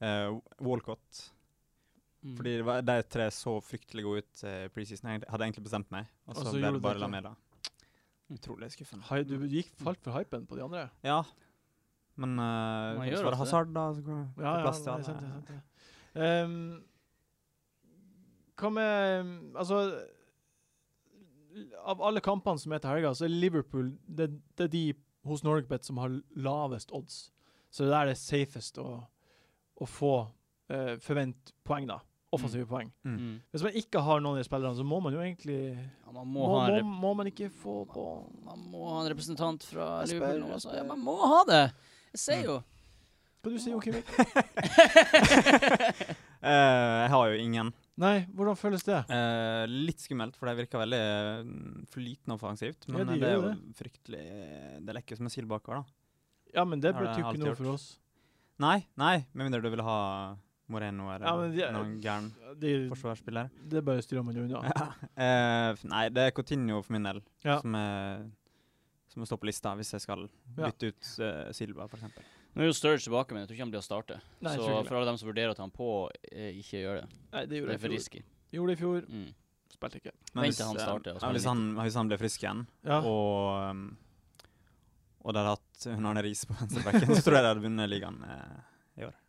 Speaker 4: eh, Walcott.
Speaker 2: Mm.
Speaker 1: Mm.
Speaker 4: Fordi det var, de tre så fryktelig gode ut eh, i preseason. Jeg hadde egentlig bestemt meg, og så
Speaker 1: Og så
Speaker 4: ble
Speaker 1: gjorde
Speaker 4: det
Speaker 1: du
Speaker 4: bare
Speaker 1: det ikke.
Speaker 4: Lamela. Utrolig skuffende.
Speaker 1: Hi, du gikk falt for hypen på de andre.
Speaker 4: Ja, men uh,
Speaker 2: gjør
Speaker 4: så
Speaker 2: ofte det.
Speaker 4: var det Hazard, da. Så går
Speaker 1: Ja,
Speaker 4: får
Speaker 1: ja,
Speaker 4: plass til eh,
Speaker 1: nei,
Speaker 4: alle.
Speaker 1: sant det. Sant det. Ehm, hva med um, Altså Av alle kampene som er til helga, så er Liverpool det, det er de hos Norgebet som har lavest odds. Så det er det safest å, å få eh, forvent poeng, da. Offensive poeng.
Speaker 2: mm.
Speaker 1: Hvis man ikke har noen av de spillerne, så må man jo egentlig
Speaker 2: ja, Man
Speaker 1: Må,
Speaker 2: må, ha en
Speaker 1: må,
Speaker 2: rep
Speaker 1: må man ikke få på
Speaker 2: man må ha en representant fra
Speaker 1: Jeg spør,
Speaker 2: Liverpool.
Speaker 1: jeg
Speaker 2: nå, altså.
Speaker 1: spør.
Speaker 2: Ja, man må ha det! Jeg
Speaker 4: Mm.
Speaker 2: ser jo.
Speaker 1: Hva du sier du, Kimmi?
Speaker 4: Eh, jeg har jo ingen.
Speaker 1: Nei, hvordan føles det?
Speaker 4: Eh, litt skummelt, for det virker veldig eh, flytende offensivt. Men
Speaker 1: Ja, de
Speaker 4: eh, det
Speaker 1: gjør
Speaker 4: er
Speaker 1: jo
Speaker 4: jo fryktelig Det lekker som en sild bakover, da.
Speaker 1: Ja, men det
Speaker 4: Har det
Speaker 1: betyr ikke
Speaker 4: alltid
Speaker 1: noe
Speaker 4: gjort.
Speaker 1: for oss.
Speaker 4: Nei, nei, med mindre du vil ha Moreno eller
Speaker 1: Ja, men de-
Speaker 4: noen gæren
Speaker 1: Det,
Speaker 4: forsvarsspiller.
Speaker 1: det bare styrer man jo unna.
Speaker 4: Eh, f- nei, det er Coutinho for min del
Speaker 1: Ja.
Speaker 4: som, er, som må stå på lista hvis jeg skal
Speaker 1: Ja.
Speaker 4: bytte ut eh, Silva, for eksempel.
Speaker 2: Nå er jo Sturridge tilbake, men jeg tror ikke han blir å starte.
Speaker 1: Nei, jeg
Speaker 2: så
Speaker 1: tror ikke det.
Speaker 2: for alle dem som vurderer å ta han på, eh, ikke gjør det.
Speaker 1: Nei, det
Speaker 2: Det
Speaker 1: gjorde
Speaker 2: er
Speaker 1: jeg i
Speaker 2: for
Speaker 1: fjor.
Speaker 2: risky.
Speaker 1: Gjorde det i fjor.
Speaker 2: Mm.
Speaker 1: Spilte ikke.
Speaker 2: Vent til han starter å
Speaker 4: ja,
Speaker 2: spille
Speaker 4: hvis, han, hvis han blir frisk igjen,
Speaker 1: Ja.
Speaker 4: og, um, og de hadde hatt hun Arne Riise på venstrebacken, så tror jeg de hadde vunnet ligaen. eh,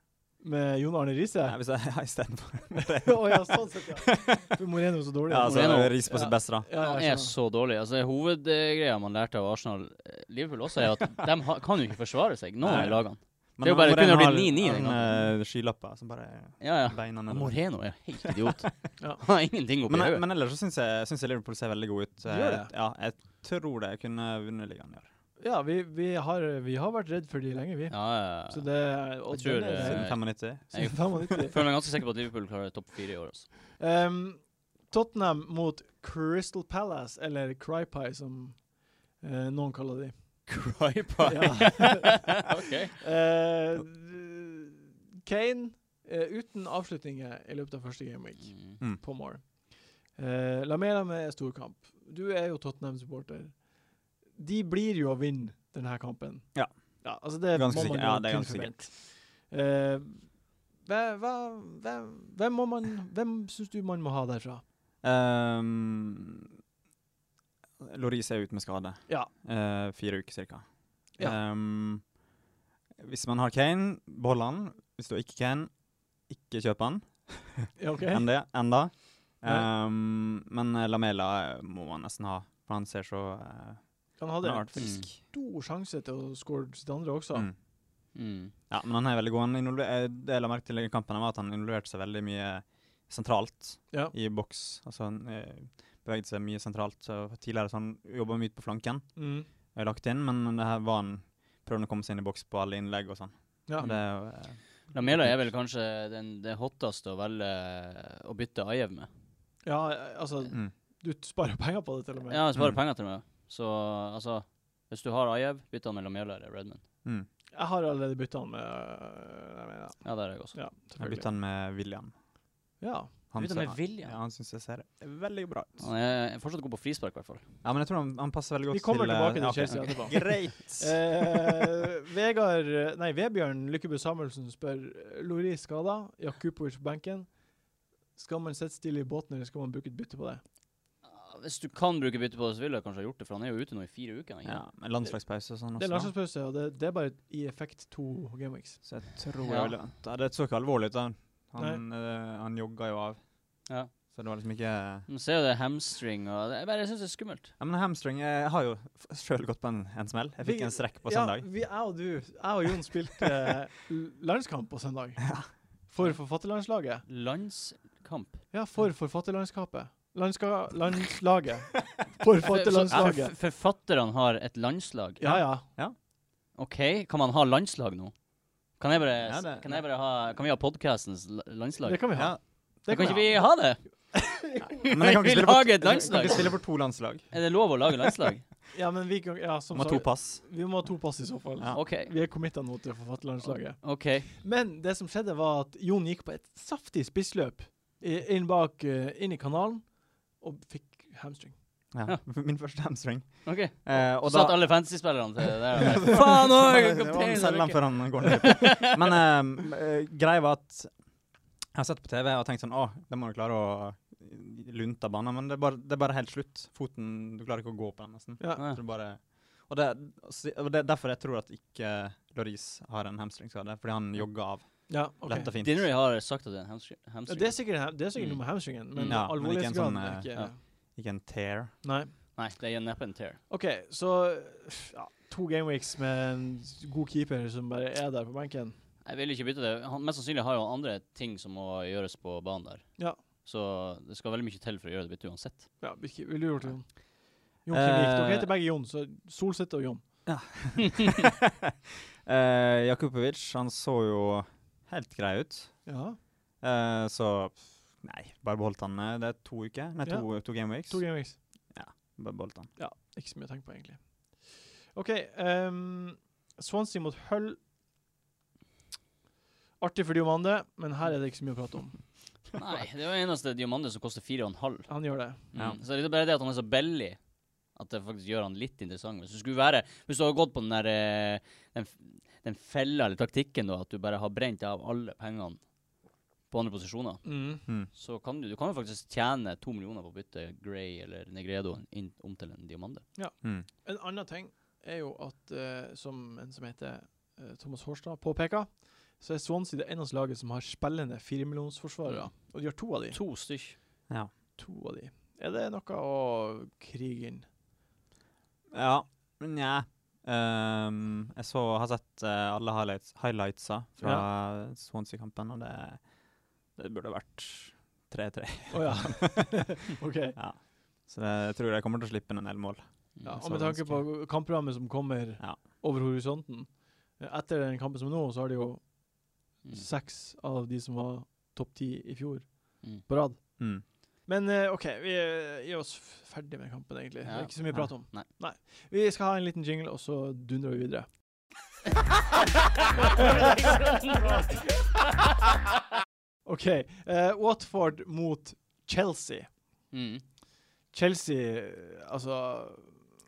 Speaker 1: Med Jon Arne Riise?
Speaker 4: Nei, hvis jeg, ja, istedenfor.
Speaker 1: Å ja, sånn sett, ja. For Moreno er så dårlig.
Speaker 4: Ja, så
Speaker 2: Moreno.
Speaker 4: Riise på sitt beste, da.
Speaker 1: Ja,
Speaker 2: Han
Speaker 1: jeg
Speaker 2: er
Speaker 1: skjønner.
Speaker 2: så dårlig. Altså, det Hovedgreia man lærte av Arsenal eh, Liverpool også, er at de ha, kan jo ikke forsvare seg, noen
Speaker 4: Nei.
Speaker 2: av lagene.
Speaker 4: Men
Speaker 2: Det er jo bare-
Speaker 4: Moreno
Speaker 2: kunne jo blitt 9-9
Speaker 4: har
Speaker 2: den
Speaker 4: Han eh, skylapper som bare
Speaker 2: Ja, ja.
Speaker 4: beina
Speaker 2: Og
Speaker 4: ned.
Speaker 2: Moreno er helt idiot.
Speaker 1: Ja.
Speaker 2: Han har ingenting oppi
Speaker 4: Men,
Speaker 2: hodet.
Speaker 4: men ellers så syns jeg, syns jeg Liverpool ser veldig god ut.
Speaker 1: Gjør det?
Speaker 4: Eh, Ja, jeg tror de kunne vunnet ligaen i år.
Speaker 1: Ja, vi, vi, har, vi har vært redd for de lenge, vi.
Speaker 2: Ja,
Speaker 1: Så
Speaker 2: ja, ja.
Speaker 1: det er- og
Speaker 2: Jeg tror,
Speaker 1: den er-
Speaker 2: eh,
Speaker 4: Siden 95.
Speaker 2: Jeg
Speaker 1: siden 95.
Speaker 2: føler meg ganske sikker på at Liverpool klarer topp fire i år. altså. Også.
Speaker 1: Ehm, Tottenham mot Crystal Palace, eller Crypie, som eh, noen kaller de.
Speaker 2: Cry
Speaker 1: Ja.
Speaker 2: ok.
Speaker 1: Eh, Kane eh, uten avslutninger i løpet av første game week
Speaker 2: Mm.
Speaker 4: Mm.
Speaker 1: på Moore. Eh, Lamela med storkamp. Du er jo Tottenham-supporter. De blir jo å vinne denne kampen.
Speaker 4: Ja.
Speaker 1: ja altså det
Speaker 4: Ganske
Speaker 1: må man
Speaker 4: sikkert.
Speaker 1: jo
Speaker 4: Ja, det er
Speaker 1: kunne
Speaker 4: ganske sikkert.
Speaker 1: forvente. Eh, hva- hva- hvem- hvem må man Hvem syns du man må ha derfra?
Speaker 4: Um, Loris er ute med skade.
Speaker 1: Ja.
Speaker 4: Eh, fire uker cirka.
Speaker 1: Ja.
Speaker 4: Um, hvis man har Kane, behold han. Hvis du ikke har Kane, ikke kjøp han.
Speaker 1: Ja, OK?
Speaker 4: Enn det, enda.
Speaker 1: Ja.
Speaker 4: Um, men eh, Lamela eh, må man nesten ha, for han ser så eh,
Speaker 1: Han
Speaker 4: Han
Speaker 1: hadde
Speaker 4: har
Speaker 1: en
Speaker 4: vært frisk.
Speaker 1: stor sjanse til å score sitt andre også.
Speaker 4: Mm.
Speaker 2: Mm.
Speaker 4: Ja, men han er veldig god. Han involver- eh, det jeg la merke til i kampen, var at han involverte seg veldig mye sentralt
Speaker 1: Ja.
Speaker 4: i boks. Altså, han eh, beveget seg mye sentralt. Så tidligere så han jobba mye ut på flanken,
Speaker 1: Mm.
Speaker 4: eh, lagt inn, men det her var han prøvde å komme seg inn i boks på alle innlegg og sånn.
Speaker 1: Ja.
Speaker 4: Og det er jo, eh,
Speaker 2: Lamela er vel kanskje den, det hotteste å velge eh, å bytte Ajev med.
Speaker 1: ja, altså
Speaker 4: mm.
Speaker 1: Du sparer penger på det, til og med.
Speaker 2: Ja, jeg sparer
Speaker 4: Mm.
Speaker 2: penger til meg. Så altså Hvis du har Ajev, bytt han med Lamela eller Redman.
Speaker 4: Mm.
Speaker 1: Jeg har allerede bytta han med øh, jeg mener,
Speaker 2: Ja, der er jeg også.
Speaker 1: Ja,
Speaker 4: Jeg
Speaker 1: selvfølgelig.
Speaker 4: bytta han med William.
Speaker 1: Ja.
Speaker 4: Han
Speaker 2: Bytta med
Speaker 4: ser-
Speaker 2: William?
Speaker 4: Ja, han syns jeg ser veldig bra ut.
Speaker 2: Han er fortsatt god på frispark, i hvert fall.
Speaker 4: Ja, men jeg tror han, han passer veldig godt
Speaker 1: Vi kommer
Speaker 4: til eh,
Speaker 1: tilbake til
Speaker 4: ja, ok.
Speaker 1: Chelsea etterpå.
Speaker 4: Greit.
Speaker 1: Eh, Vegard Nei, Vebjørn Lykkebø Samuelsen spør Loris skada, Jakubovic på benken. Skal man sitte stille i båten, eller skal man bruke et bytte på det?
Speaker 2: Ja, Hvis du kan bruke bytte på det, så ville jeg kanskje ha gjort det, for han er jo ute nå i fire uker. er han ikke?
Speaker 4: Ja, men landslagspause og sånn også.
Speaker 1: Det er landslagspause, og det, det er bare i effekt to gameweeks.
Speaker 4: Så jeg tror
Speaker 2: Ja.
Speaker 4: jeg ville vente. Ja, Det så ikke alvorlig ut. da. Han, eh, han jogga jo av.
Speaker 2: Ja.
Speaker 4: Så det var liksom ikke ja,
Speaker 2: Du ser jo det er hamstring og det- Jeg bare syns det er skummelt.
Speaker 4: Men hamstring Jeg har jo sjøl gått på en, en smell. Jeg fikk
Speaker 1: Vi-
Speaker 4: en strekk på
Speaker 1: ja,
Speaker 4: søndag.
Speaker 1: vi, jeg og du, jeg og Jon spilte eh, l- landskamp på søndag. For forfatterlandslaget.
Speaker 2: Landskamp.
Speaker 1: Ja, for forfatterlandskapet. Landska, landslaget. For
Speaker 2: For-
Speaker 1: forfatterlandslaget.
Speaker 2: for- Forfatterne har et landslag.
Speaker 1: Ja, ja.
Speaker 2: OK, kan man ha landslag nå? Kan jeg bare,
Speaker 4: Ja, det-
Speaker 2: kan jeg bare ha Kan vi ha podcastens la- landslag?
Speaker 1: Det kan vi ha.
Speaker 4: Ja.
Speaker 1: Det
Speaker 2: kan
Speaker 1: vi
Speaker 2: ikke
Speaker 1: ha.
Speaker 2: vi ha det?
Speaker 4: Men jeg kan
Speaker 2: Vi
Speaker 4: ikke, spille for,
Speaker 2: lager et
Speaker 4: jeg kan
Speaker 2: landslag.
Speaker 4: ikke spille for to landslag.
Speaker 2: Er det lov å lage landslag?
Speaker 1: Ja, men vi kan Ja, som
Speaker 4: Må to
Speaker 1: sagt,
Speaker 4: pass.
Speaker 1: vi må ha to pass i så fall.
Speaker 4: Ja.
Speaker 2: OK.
Speaker 1: Vi er committa nå til forfatterlandslaget.
Speaker 2: ok.
Speaker 1: Men det som skjedde, var at Jon gikk på et saftig spissløp i- inn bak eh, inn i kanalen og fikk hamstring.
Speaker 4: Ja. Min første hamstring.
Speaker 2: ok.
Speaker 4: Eh,
Speaker 2: Så
Speaker 4: og
Speaker 2: satt
Speaker 4: da
Speaker 2: alle fantasy-spillerne til det der. Faen òg!
Speaker 4: Det var han selv han før han går ned. Men eh, eh, greia var at jeg har sett på TV og tenkt sånn Å, det må du klare å lunte av banen. Men det er, bare, det er bare helt slutt. Foten Du klarer ikke å gå på den, nesten.
Speaker 2: Ja.
Speaker 4: Jeg tror bare, og det, og det er derfor jeg tror at ikke Loris har en hamstringskade, fordi han jogger av
Speaker 1: Ja, ok.
Speaker 4: lett og fint.
Speaker 2: Dinnery har sagt at det er en hamstring.
Speaker 1: Ja,
Speaker 2: hamstring.
Speaker 1: det er sikkert, en ham- det er sikkert
Speaker 2: Mm.
Speaker 1: noe med hamstringen, men
Speaker 2: Ja,
Speaker 4: men ikke en
Speaker 1: alvorlighetsgraden
Speaker 4: sånn,
Speaker 1: er
Speaker 4: eh,
Speaker 1: ikke
Speaker 2: ja.
Speaker 4: Ikke en tear.
Speaker 1: Nei.
Speaker 2: Nei, det er neppe en tear.
Speaker 1: OK, så ja, to gameweeks med en god keeper som bare er der på benken.
Speaker 2: Jeg vil ikke bytte det. Han, mest sannsynlig har jo han andre ting som må gjøres på banen der.
Speaker 1: Ja.
Speaker 2: Så det skal veldig mye til for å gjøre det byttet uansett.
Speaker 1: Ja, Birke, vil du gjort det? Jon? Jon Kim Vik. Dere
Speaker 4: Eh,
Speaker 1: heter begge Jon, så Solseth og Jon.
Speaker 4: Eh, Jakubovic, han så jo helt grei ut.
Speaker 1: Ja,
Speaker 4: Eh, så nei, bare beholdt han. eh, Det er to uker. Nei, to, to game weeks.
Speaker 1: to gameweeks.
Speaker 4: Bare beholdt han.
Speaker 1: Ikke så mye å tenke på, egentlig. OK. ehm, Swansea mot Hull. Artig for Diomande, men her er det ikke så mye å prate om.
Speaker 2: Nei, det er jo eneste diamante som koster 4,5.
Speaker 1: Han gjør det.
Speaker 2: Mm.
Speaker 4: Ja.
Speaker 2: Så det er bare det at han er så billig at det faktisk gjør han litt interessant. Hvis du skulle være Hvis du har gått på den der eh, den, f- den fella eller taktikken da, at du bare har brent av alle pengene på andre posisjoner,
Speaker 1: Mm.
Speaker 4: Mm.
Speaker 2: så kan du, du kan jo faktisk tjene to millioner på å bytte Grey eller Negredo inn, om til en Diamande.
Speaker 4: Mm.
Speaker 1: En annen ting er jo at, eh, som en som heter eh, Thomas Horstad påpeker, så er Swansea det eneste laget som har spillende firemillionsforsvarere. Og de har to av de.
Speaker 2: To stykk.
Speaker 1: To av de. Er det noe å krige inn?
Speaker 4: Ja, men nja. Ehm, jeg så, har sett eh, alle highlights, highlightsa fra Swansea-kampen, og det, det burde vært 3-3.
Speaker 1: Å ja. OK.
Speaker 4: Ja. Så det, jeg tror jeg kommer til å slippe inn en del mål.
Speaker 1: Ja,
Speaker 4: Mm,
Speaker 1: og med tanke på kampprogrammet som kommer
Speaker 4: Ja.
Speaker 1: over horisonten eh, Etter den kampen som er nå, så har de jo
Speaker 2: Mm.
Speaker 1: seks av de som var topp ti i fjor,
Speaker 2: Mm.
Speaker 1: på rad.
Speaker 4: Mm.
Speaker 1: Men eh, OK, vi eh, gjør oss f- ferdig med kampen, egentlig. Det
Speaker 2: Ja.
Speaker 1: er ikke så mye prat om.
Speaker 2: Nei.
Speaker 1: Vi skal ha en liten jingle, og så dundrer vi videre. OK. eh, Watford mot Chelsea.
Speaker 2: Mm.
Speaker 1: Chelsea, eh, altså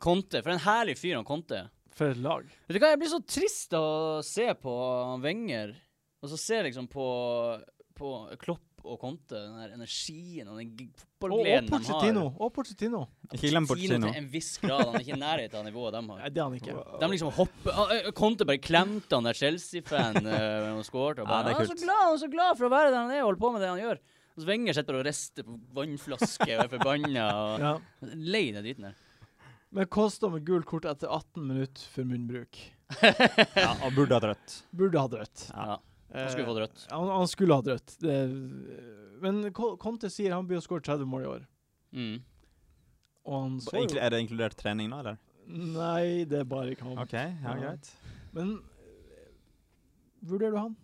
Speaker 2: Conte. For en herlig fyr han Conte er.
Speaker 1: For et lag.
Speaker 2: Vet du hva, jeg blir så trist av å se på han Wenger, og så se liksom på, på Klopp og Conte, den her energien og den g-
Speaker 1: Og, og
Speaker 2: fotballgleden de har.
Speaker 1: Pochettino. Og Pochettino.
Speaker 4: Ikke glem
Speaker 2: Pochettino
Speaker 4: Porcino.
Speaker 2: til en viss grad. Han er ikke i nærheten av nivået de
Speaker 1: Nei,
Speaker 2: har.
Speaker 1: det er han ikke.
Speaker 2: De liksom hopper ah, eh, Conte bare klemte han der Chelsea-fan eh, og skåret. Og
Speaker 4: Ja,
Speaker 2: bare,
Speaker 4: det er
Speaker 2: han er så
Speaker 4: kult.
Speaker 2: glad han er så glad for å være der han er og holde på med det han gjør. Og så Wenger sitter bare og rister på vannflasker og er forbanna. og-
Speaker 1: Ja.
Speaker 2: Lei den driten der.
Speaker 1: Men kosta med gult kort etter 18 minutter for munnbruk.
Speaker 4: Ja, og burde hatt rødt.
Speaker 1: Burde hatt rødt. Eh,
Speaker 2: Ja. Han skulle fått rødt.
Speaker 1: Han, han skulle hatt rødt. Det, men Ko- Conte sier han blir å skåre 30 mål i år.
Speaker 2: Mm.
Speaker 1: Og han så
Speaker 4: Inkl-
Speaker 1: jo
Speaker 4: Er det inkludert trening nå, eller?
Speaker 1: Nei, det er bare kamp.
Speaker 4: OK, ja,
Speaker 1: Ja.
Speaker 4: greit.
Speaker 1: Men eh, vurderer du han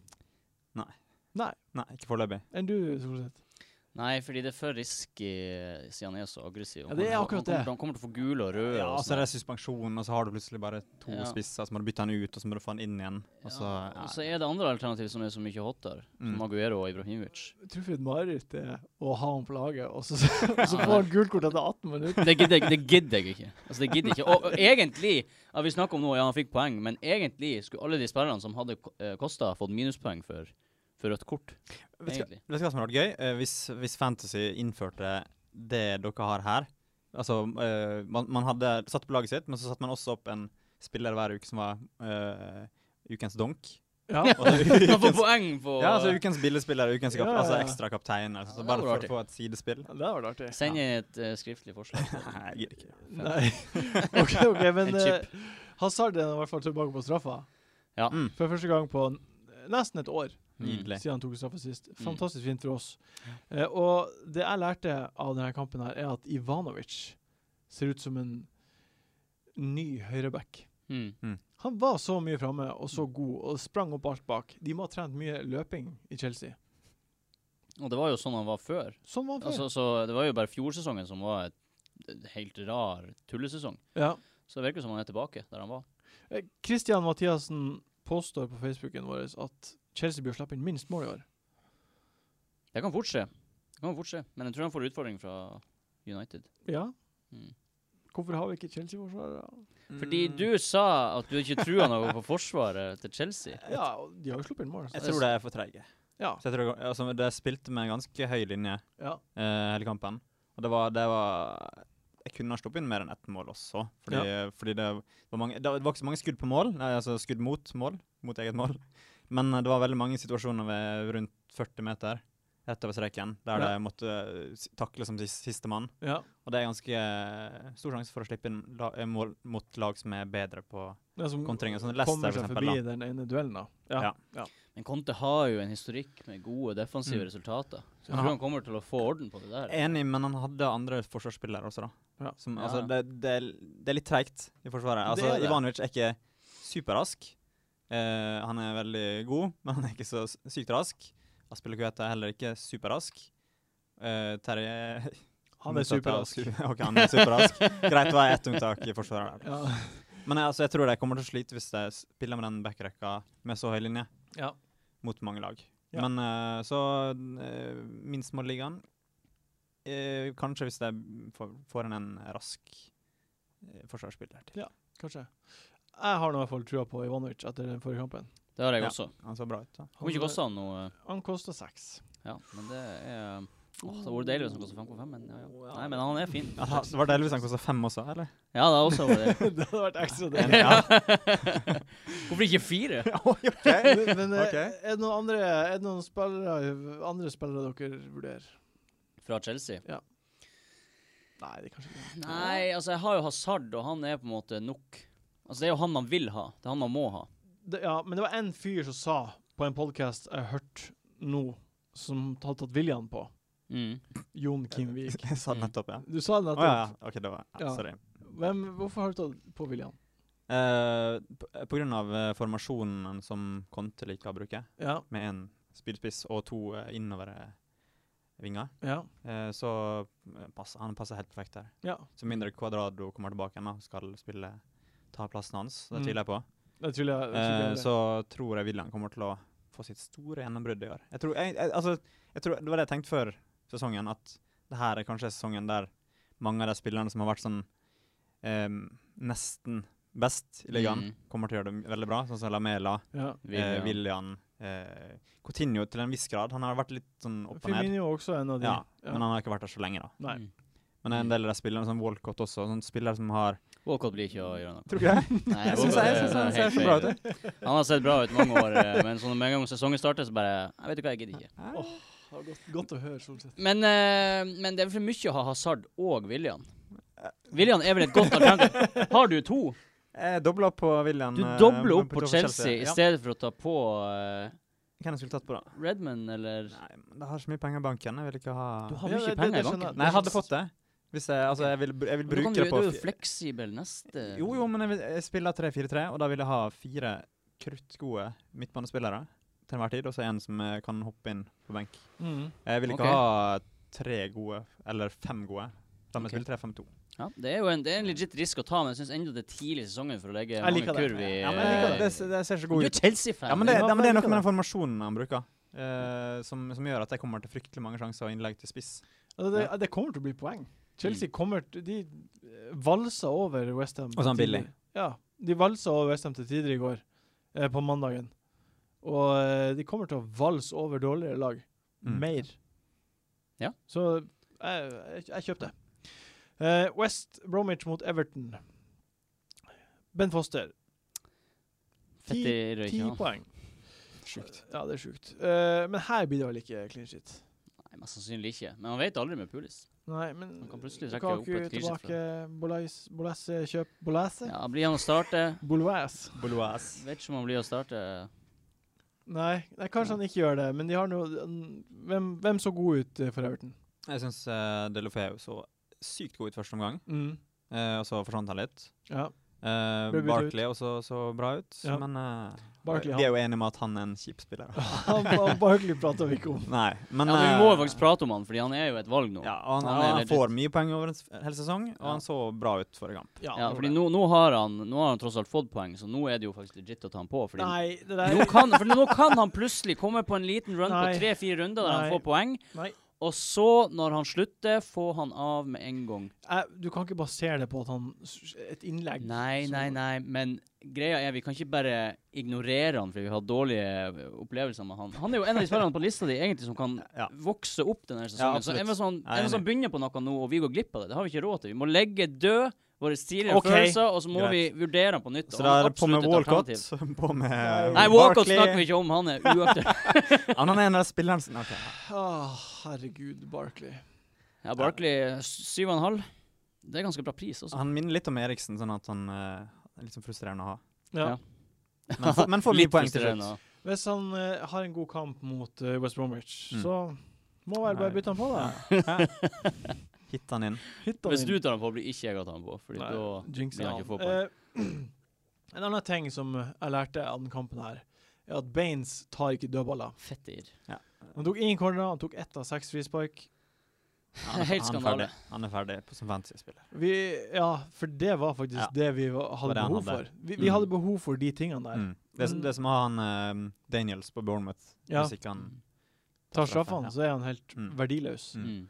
Speaker 4: Nei, ikke foreløpig.
Speaker 1: enn du, Solseth?
Speaker 2: Nei, fordi det er for risky siden han er så aggressiv.
Speaker 1: Ja, det er
Speaker 2: Han-
Speaker 1: akkurat
Speaker 2: han,
Speaker 1: det.
Speaker 2: kommer- han kommer til å få gule og røde.
Speaker 4: Ja,
Speaker 2: og
Speaker 4: og
Speaker 2: sånn
Speaker 4: så er
Speaker 2: der.
Speaker 4: det suspensjon, og så har du plutselig bare to
Speaker 2: Ja.
Speaker 4: spisser, så må du bytte han ut, og så må du få han inn igjen. Og så,
Speaker 2: ja, og så er det andre alternativ som er så mye hotere, som
Speaker 4: altså, Mm.
Speaker 2: Aguero og Ibrahimovic.
Speaker 1: Jeg tror for et mareritt det er å ha han på laget, og så, og så får han gult kort etter 18 minutter.
Speaker 2: Det gidder, jeg- det gidder jeg ikke. Altså, det gidder jeg ikke. Og, og egentlig, ja, vi snakker om nå, ja, han fikk poeng, men egentlig skulle alle de spillerne som hadde kosta, fått minuspoeng for, for rødt kort.
Speaker 4: Vet du hva-
Speaker 2: Egentlig.
Speaker 4: vet du hva som hadde vært gøy? Eh, hvis, hvis Fantasy innførte det dere har her Altså, eh, man, man hadde satt på laget sitt, men så satte man også opp en spiller hver uke som var eh, ukens donk.
Speaker 1: Ja.
Speaker 4: Og så
Speaker 2: Han får
Speaker 4: ukens,
Speaker 2: poeng på
Speaker 4: ja, altså ukens billigspiller, ukens kap,
Speaker 1: Ja, ja,
Speaker 4: altså
Speaker 1: ja.
Speaker 4: ekstra kaptein. Altså,
Speaker 2: Ja,
Speaker 4: så
Speaker 2: det
Speaker 4: bare
Speaker 2: var
Speaker 4: for
Speaker 2: artig.
Speaker 4: å få et sidespill.
Speaker 1: Det hadde vært artig.
Speaker 2: Send inn et eh, skriftlig forslag.
Speaker 4: Nei, jeg gidder ikke.
Speaker 1: Nei. OK, ok, men
Speaker 2: En chip.
Speaker 1: eh, Hazard er i hvert fall tilbake på straffa.
Speaker 2: Ja.
Speaker 4: Mm.
Speaker 1: For første gang på n- nesten et år.
Speaker 4: Nydelig.
Speaker 1: siden han tok straffa sist. Fantastisk fint for oss. Eh, og det jeg lærte av denne kampen, her er at Ivanovic ser ut som en ny høyreback.
Speaker 2: Mm.
Speaker 1: Han var så mye framme og så god og sprang opp alt bak. De må ha trent mye løping i Chelsea.
Speaker 2: Og det var jo sånn han var før.
Speaker 1: Sånn var han før.
Speaker 2: Altså, så det var jo bare fjorsesongen som var et, et helt rar tullesesong.
Speaker 1: ja.
Speaker 2: Så det virker som han er tilbake der han var.
Speaker 1: Eh, Christian Mathiassen påstår på Facebooken vår at Chelsea bør slippe inn minst mål i år.
Speaker 2: Det kan fort skje. Det kan fort skje. Men jeg tror han får utfordring fra United.
Speaker 1: Ja.
Speaker 2: Mm.
Speaker 1: Hvorfor har vi ikke Chelsea-forsvarere?
Speaker 2: Fordi du sa at du ikke trua noe på forsvaret til Chelsea.
Speaker 1: Ja, og de har jo sluppet inn mål.
Speaker 4: Jeg
Speaker 1: Så.
Speaker 4: tror det er for treige.
Speaker 1: Ja.
Speaker 4: Så jeg tror, altså, det spilte med en ganske høy linje
Speaker 1: ja.
Speaker 4: eh, hele kampen. Og det var, det var Jeg kunne ha sluppet inn mer enn ett mål også. Fordi, fordi det, var mange, det var ikke så mange skudd på mål, nei, altså skudd mot mål, mot eget mål. Men eh, det var veldig mange situasjoner ved rundt 40 meter rett over streken der
Speaker 1: Ja.
Speaker 4: de måtte eh, s- takle som sis- sistemann.
Speaker 1: ja.
Speaker 4: Og det er ganske eh, stor sjanse for å slippe inn la, eh, mål mot lag som er bedre på
Speaker 1: Det er som
Speaker 4: kontringer. Sånn Leicester,
Speaker 1: kommer
Speaker 4: for
Speaker 1: seg
Speaker 4: eksempel.
Speaker 1: forbi
Speaker 4: da.
Speaker 1: den ene duellen, da.
Speaker 4: Ja.
Speaker 2: Men Conte har jo en historikk med gode defensive
Speaker 4: Mm.
Speaker 2: resultater. Så jeg tror
Speaker 4: Han har-
Speaker 2: han Eh, kommer til å få orden på det der.
Speaker 4: Enig, men han hadde andre forsvarsspillere også, da.
Speaker 1: Ja.
Speaker 4: Som,
Speaker 2: Ja.
Speaker 4: altså, det, det, er- det er litt treigt i forsvaret.
Speaker 1: Det
Speaker 4: Altså,
Speaker 1: er det.
Speaker 4: Ivanovic er ikke superrask. Eh, han er veldig god, men han er ikke så s- sykt rask. Aspelekueta er heller ikke superrask. Eh, Terje
Speaker 1: Han er
Speaker 4: motsatt av
Speaker 1: superrask.
Speaker 4: su- ok, han er superrask. Greit, det var ett unntak i forsvaret. der.
Speaker 1: Ja.
Speaker 4: Men eh, altså, jeg tror de kommer til å slite hvis de spiller med den backrekka med så høy linje
Speaker 1: Ja.
Speaker 4: mot mange lag.
Speaker 1: Ja.
Speaker 4: Men eh, så eh, minst mot ligaen. Eh, kanskje hvis de får, får en, en rask eh, forsvarsspiller til.
Speaker 1: Kanskje. Jeg har nå i hvert fall trua på Ivanovic etter den forrige kampen.
Speaker 2: Det har jeg
Speaker 4: Ja.
Speaker 2: også.
Speaker 4: Han så bra ut, da.
Speaker 2: Hvor mye kosta han nå? eh?
Speaker 1: Han kosta seks.
Speaker 2: Ja, men det er Åh, det hadde vært deilig hvis han kostet 5,5, men ja, ja. Nei, men han er fin.
Speaker 4: Ja, det var det Elvis han kosta fem også, eller?
Speaker 2: Ja, det er også det.
Speaker 1: det hadde vært ekstra
Speaker 4: Ja.
Speaker 1: deilig.
Speaker 2: Hvorfor ikke fire?
Speaker 1: Men, men eh,
Speaker 4: Ok.
Speaker 1: er det noen andre Er det noen spillere, andre spillere dere vurderer?
Speaker 2: Fra Chelsea?
Speaker 1: Nei, det er kanskje ikke det.
Speaker 2: Nei, altså jeg har jo Hazard, og han er på en måte nok. Altså det er jo han man vil ha. Det er han man må ha.
Speaker 1: det ja, men det var en fyr som sa på en podkast jeg hørte nå, som hadde tatt William på,
Speaker 2: Mm.
Speaker 1: Jon Kim Wiik.
Speaker 4: Jeg sa det nettopp, ja.
Speaker 1: Du sa det
Speaker 4: Å
Speaker 1: nettopp.
Speaker 4: ja, ja. OK, det var ja,
Speaker 1: Ja.
Speaker 4: Sorry.
Speaker 1: Hvem, hvorfor har du tatt på William?
Speaker 4: Eh, p- på grunn av eh, formasjonen som Conte liker å bruke,
Speaker 1: Ja,
Speaker 4: med én spydspiss og to uh, innovervinger,
Speaker 1: ja,
Speaker 4: eh, så eh, passer, han passer helt perfekt der.
Speaker 1: ja.
Speaker 4: Så mindre Cuadrado kommer tilbake igjen og skal spille, ta plassen hans, det
Speaker 1: Mm.
Speaker 4: tviler jeg på.
Speaker 1: Jeg tror jeg, jeg,
Speaker 4: Eh,
Speaker 1: tror jeg
Speaker 4: så tror jeg William kommer til å få sitt store gjennombrudd i år. Jeg tror, jeg, jeg, altså, jeg tror, det var det jeg tenkte før sesongen, at det her er kanskje sesongen der mange av de spillerne som har vært sånn eh, nesten best i ligaen,
Speaker 2: Mm.
Speaker 4: kommer til å gjøre det veldig bra. Sånn som Lamela,
Speaker 1: ja.
Speaker 4: eh,
Speaker 2: William.
Speaker 4: William eh, Coutinho til en viss grad. Han har vært litt sånn opp og ned,
Speaker 1: Firmino er også en av de.
Speaker 4: Ja, men han har ikke vært der så lenge, da.
Speaker 1: Nei.
Speaker 2: Mm.
Speaker 4: Men en del av de spillerne, som Walcott også, sånn spillere som har
Speaker 2: Walcott blir ikke å gjøre noe.
Speaker 4: Tror du ikke det?
Speaker 2: Nei,
Speaker 4: Jeg
Speaker 2: Walcott
Speaker 4: syns jeg
Speaker 2: er-
Speaker 4: syns han
Speaker 2: er
Speaker 4: ser
Speaker 2: helt
Speaker 4: så bra
Speaker 2: feil.
Speaker 4: ut. jeg.
Speaker 2: Han har sett bra ut mange år, eh, men sånn med en gang sesongen starter, så bare Jeg vet ikke hva, jeg gidder ikke.
Speaker 1: Det var godt, godt å høre, Solseth.
Speaker 2: Men, eh, men det er for mye å ha Hazard og William. William er vel et godt alternativ. Har du to?
Speaker 4: Jeg dobla på William.
Speaker 2: Du
Speaker 4: eh,
Speaker 2: dobler opp på
Speaker 4: topp
Speaker 2: Chelsea i
Speaker 4: Ja.
Speaker 2: stedet for å ta på eh,
Speaker 4: Hvem jeg skulle tatt på, da?
Speaker 2: Redman, eller
Speaker 4: Nei, men jeg har så mye penger i banken. Jeg vil ikke ha
Speaker 2: Du har
Speaker 1: Ja,
Speaker 2: mye
Speaker 1: det- det-
Speaker 2: penger
Speaker 1: det
Speaker 2: i banken.
Speaker 1: skjønner
Speaker 4: Nei, jeg hadde fått det. Hvis jeg, altså, jeg vil, br- jeg vil
Speaker 2: Men da
Speaker 4: bruke
Speaker 2: kan
Speaker 4: det
Speaker 2: du,
Speaker 4: på
Speaker 2: du er jo eh.
Speaker 4: fi-
Speaker 2: fleksibel neste
Speaker 4: Jo, jo, men jeg, vil, jeg spiller 3-4-3, og da vil jeg ha fire kruttgode midtbanespillere til enhver tid, og så en som eh, kan hoppe inn på benk.
Speaker 1: Mm.
Speaker 4: Jeg vil ikke
Speaker 2: Ok.
Speaker 4: ha tre gode, eller fem gode. Da må jeg
Speaker 2: Ok.
Speaker 4: spille 3-5-2.
Speaker 2: Ja, det er jo en, det er en legit risk å ta, men jeg syns ennå det er tidlig i sesongen for å legge
Speaker 1: Jeg
Speaker 2: mange
Speaker 1: liker det.
Speaker 2: kurv i
Speaker 4: Ja, men jeg liker det. Det,
Speaker 2: eh,
Speaker 4: s- det ser så
Speaker 2: Du
Speaker 4: god
Speaker 2: er
Speaker 4: ut.
Speaker 2: Chelsea-fan.
Speaker 4: Ja, men det,
Speaker 1: Ja,
Speaker 4: ja, men det er noe
Speaker 1: jeg liker
Speaker 4: med den
Speaker 1: det.
Speaker 4: formasjonen han bruker, eh, som, som gjør at jeg kommer til fryktelig mange sjanser og innlegg til spiss.
Speaker 1: Altså, det, det kommer til å bli poeng. Chelsea kommer til De eh, valsa over Westham.
Speaker 4: Og så han Billy.
Speaker 1: Ja. De valsa over Westham til tider i går, eh, på mandagen. Og eh, de kommer til å valse over dårligere lag.
Speaker 4: Mm.
Speaker 1: Mer.
Speaker 2: Ja.
Speaker 1: Så jeg, jeg, jeg kjøpte. Eh, West Bromwich mot Everton. Ben Foster,
Speaker 2: Fett i
Speaker 1: ti
Speaker 2: røyken.
Speaker 1: poeng.
Speaker 4: Sjukt.
Speaker 1: Ja, det er sjukt. Eh, men her blir det vel ikke clean shit.
Speaker 2: Nei, Mest sannsynlig ikke. Men man vet aldri med Pulis.
Speaker 1: Nei, men
Speaker 2: Han kan plutselig trekke
Speaker 1: Lukaku
Speaker 2: opp et clean sheet fra-
Speaker 1: tilbake. Bolais- Bolasie kjøp Bolasie?
Speaker 2: Ja, blir han å starte?
Speaker 1: Boloise.
Speaker 4: Bouloise.
Speaker 2: Vet ikke om han blir å starte.
Speaker 1: Nei, nei, kanskje han ikke gjør det, men de har noe Hvem, hvem så god ut eh, for Everton?
Speaker 4: Jeg syns uh, Delofeu så sykt god ut første omgang, eh, og så forsvant han litt.
Speaker 1: Ja.
Speaker 4: Uh,
Speaker 1: Ble byttet
Speaker 4: Barkley også så bra ut,
Speaker 1: Ja.
Speaker 4: men eh,
Speaker 1: Barkley,
Speaker 4: vi
Speaker 1: han-
Speaker 4: er jo enige om at han er en kjip spiller.
Speaker 1: Han, han Barkley prata vi ikke om.
Speaker 4: Nei, men
Speaker 2: ja, men vi må
Speaker 4: eh,
Speaker 2: jo faktisk prate om han, fordi han er jo et valg nå.
Speaker 4: ja, og han,
Speaker 2: Han
Speaker 4: han,
Speaker 2: er
Speaker 4: han
Speaker 2: legit.
Speaker 4: får mye poeng over en s- hel sesong, og
Speaker 2: Ja.
Speaker 4: han så bra ut forrige kamp.
Speaker 2: Ja, fordi nå, nå, har han, nå har han tross alt fått poeng, så nå er det jo faktisk legit å ta han på. Fordi
Speaker 1: Nei, det
Speaker 2: nå,
Speaker 1: der
Speaker 2: kan, for nå kan han plutselig komme på en liten run
Speaker 1: Nei.
Speaker 2: på tre-fire runder der
Speaker 1: Nei.
Speaker 2: han får poeng,
Speaker 1: Nei.
Speaker 2: og så, når han slutter, får han av med en gang.
Speaker 1: Jeg, eh, du kan ikke basere det på at han s- Et innlegg
Speaker 2: Nei,
Speaker 1: som-
Speaker 2: nei, nei, men greia er vi kan ikke bare ignorere han fordi vi har dårlige opplevelser med han. Han er jo en av de spillerne på lista di egentlig som kan
Speaker 4: Ja.
Speaker 2: vokse opp denne
Speaker 4: Ja,
Speaker 2: sesongen. så
Speaker 4: absolutt.
Speaker 2: en hvis han,
Speaker 4: Jeg er
Speaker 2: en hvis han begynner på noe nå, og vi går glipp av det, det har vi ikke råd til. Vi må legge død våre tidligere
Speaker 4: Ok,
Speaker 2: følelser, og så må
Speaker 4: greit.
Speaker 2: vi vurdere han på nytt.
Speaker 4: Så
Speaker 2: og
Speaker 4: da
Speaker 2: han
Speaker 4: er det på med
Speaker 2: absolutt et
Speaker 4: Walcott,
Speaker 2: alternativ.
Speaker 4: på med eh,
Speaker 2: Nei, Walcott
Speaker 4: Barkley.
Speaker 2: snakker vi ikke om, han er uaktuell.
Speaker 4: Ja, men Han er en av de spillerne som Ok, ja.
Speaker 1: Åh, Ah, herregud, Barkley.
Speaker 2: Ja, Barkley 7,5. Det er ganske bra pris altså. også.
Speaker 4: Han minner litt om Eriksen, sånn at han eh, er litt sånn frustrerende å ha.
Speaker 1: Ja.
Speaker 2: Ja.
Speaker 4: Men, får- men får mye
Speaker 2: Litt
Speaker 4: poeng til
Speaker 2: frustrerende,
Speaker 4: slutt.
Speaker 2: da.
Speaker 1: Hvis han eh, har en god kamp mot eh, West Bromwich,
Speaker 4: Mm.
Speaker 1: så må vel bare
Speaker 4: Nei.
Speaker 1: bytte han på, da.
Speaker 4: Hitt han inn.
Speaker 1: Hitt han
Speaker 2: Hvis
Speaker 1: inn.
Speaker 2: du tar han på, blir ikke jeg å ta han på. Fordi
Speaker 1: Nei,
Speaker 2: da
Speaker 1: jinxer
Speaker 2: vil han
Speaker 1: han.
Speaker 2: ikke få poeng.
Speaker 1: Eh, en annen ting som jeg lærte av den kampen her, er at Baines tar ikke dødballer.
Speaker 2: Fetter.
Speaker 1: Han tok ingen corner, han tok ett av seks frispark.
Speaker 4: Han er,
Speaker 2: Helt
Speaker 4: han er
Speaker 2: skandale.
Speaker 4: ferdig, han er ferdig på, som fantasy-spiller.
Speaker 1: Vi, ja, for det var faktisk
Speaker 4: Ja.
Speaker 1: det vi var, hadde
Speaker 4: Det var det han
Speaker 1: behov
Speaker 4: hadde.
Speaker 1: for. Vi, vi
Speaker 4: Mm.
Speaker 1: hadde behov for de tingene der.
Speaker 4: Mm. Det, er,
Speaker 1: Men-
Speaker 4: som- det er som å ha han eh, Daniels på Bournemouth.
Speaker 1: Ja.
Speaker 4: Hvis ikke han
Speaker 1: Tar straffene,
Speaker 4: Ja.
Speaker 1: så er han helt
Speaker 4: Mm.
Speaker 1: verdiløs.
Speaker 4: Mm.
Speaker 2: Mm.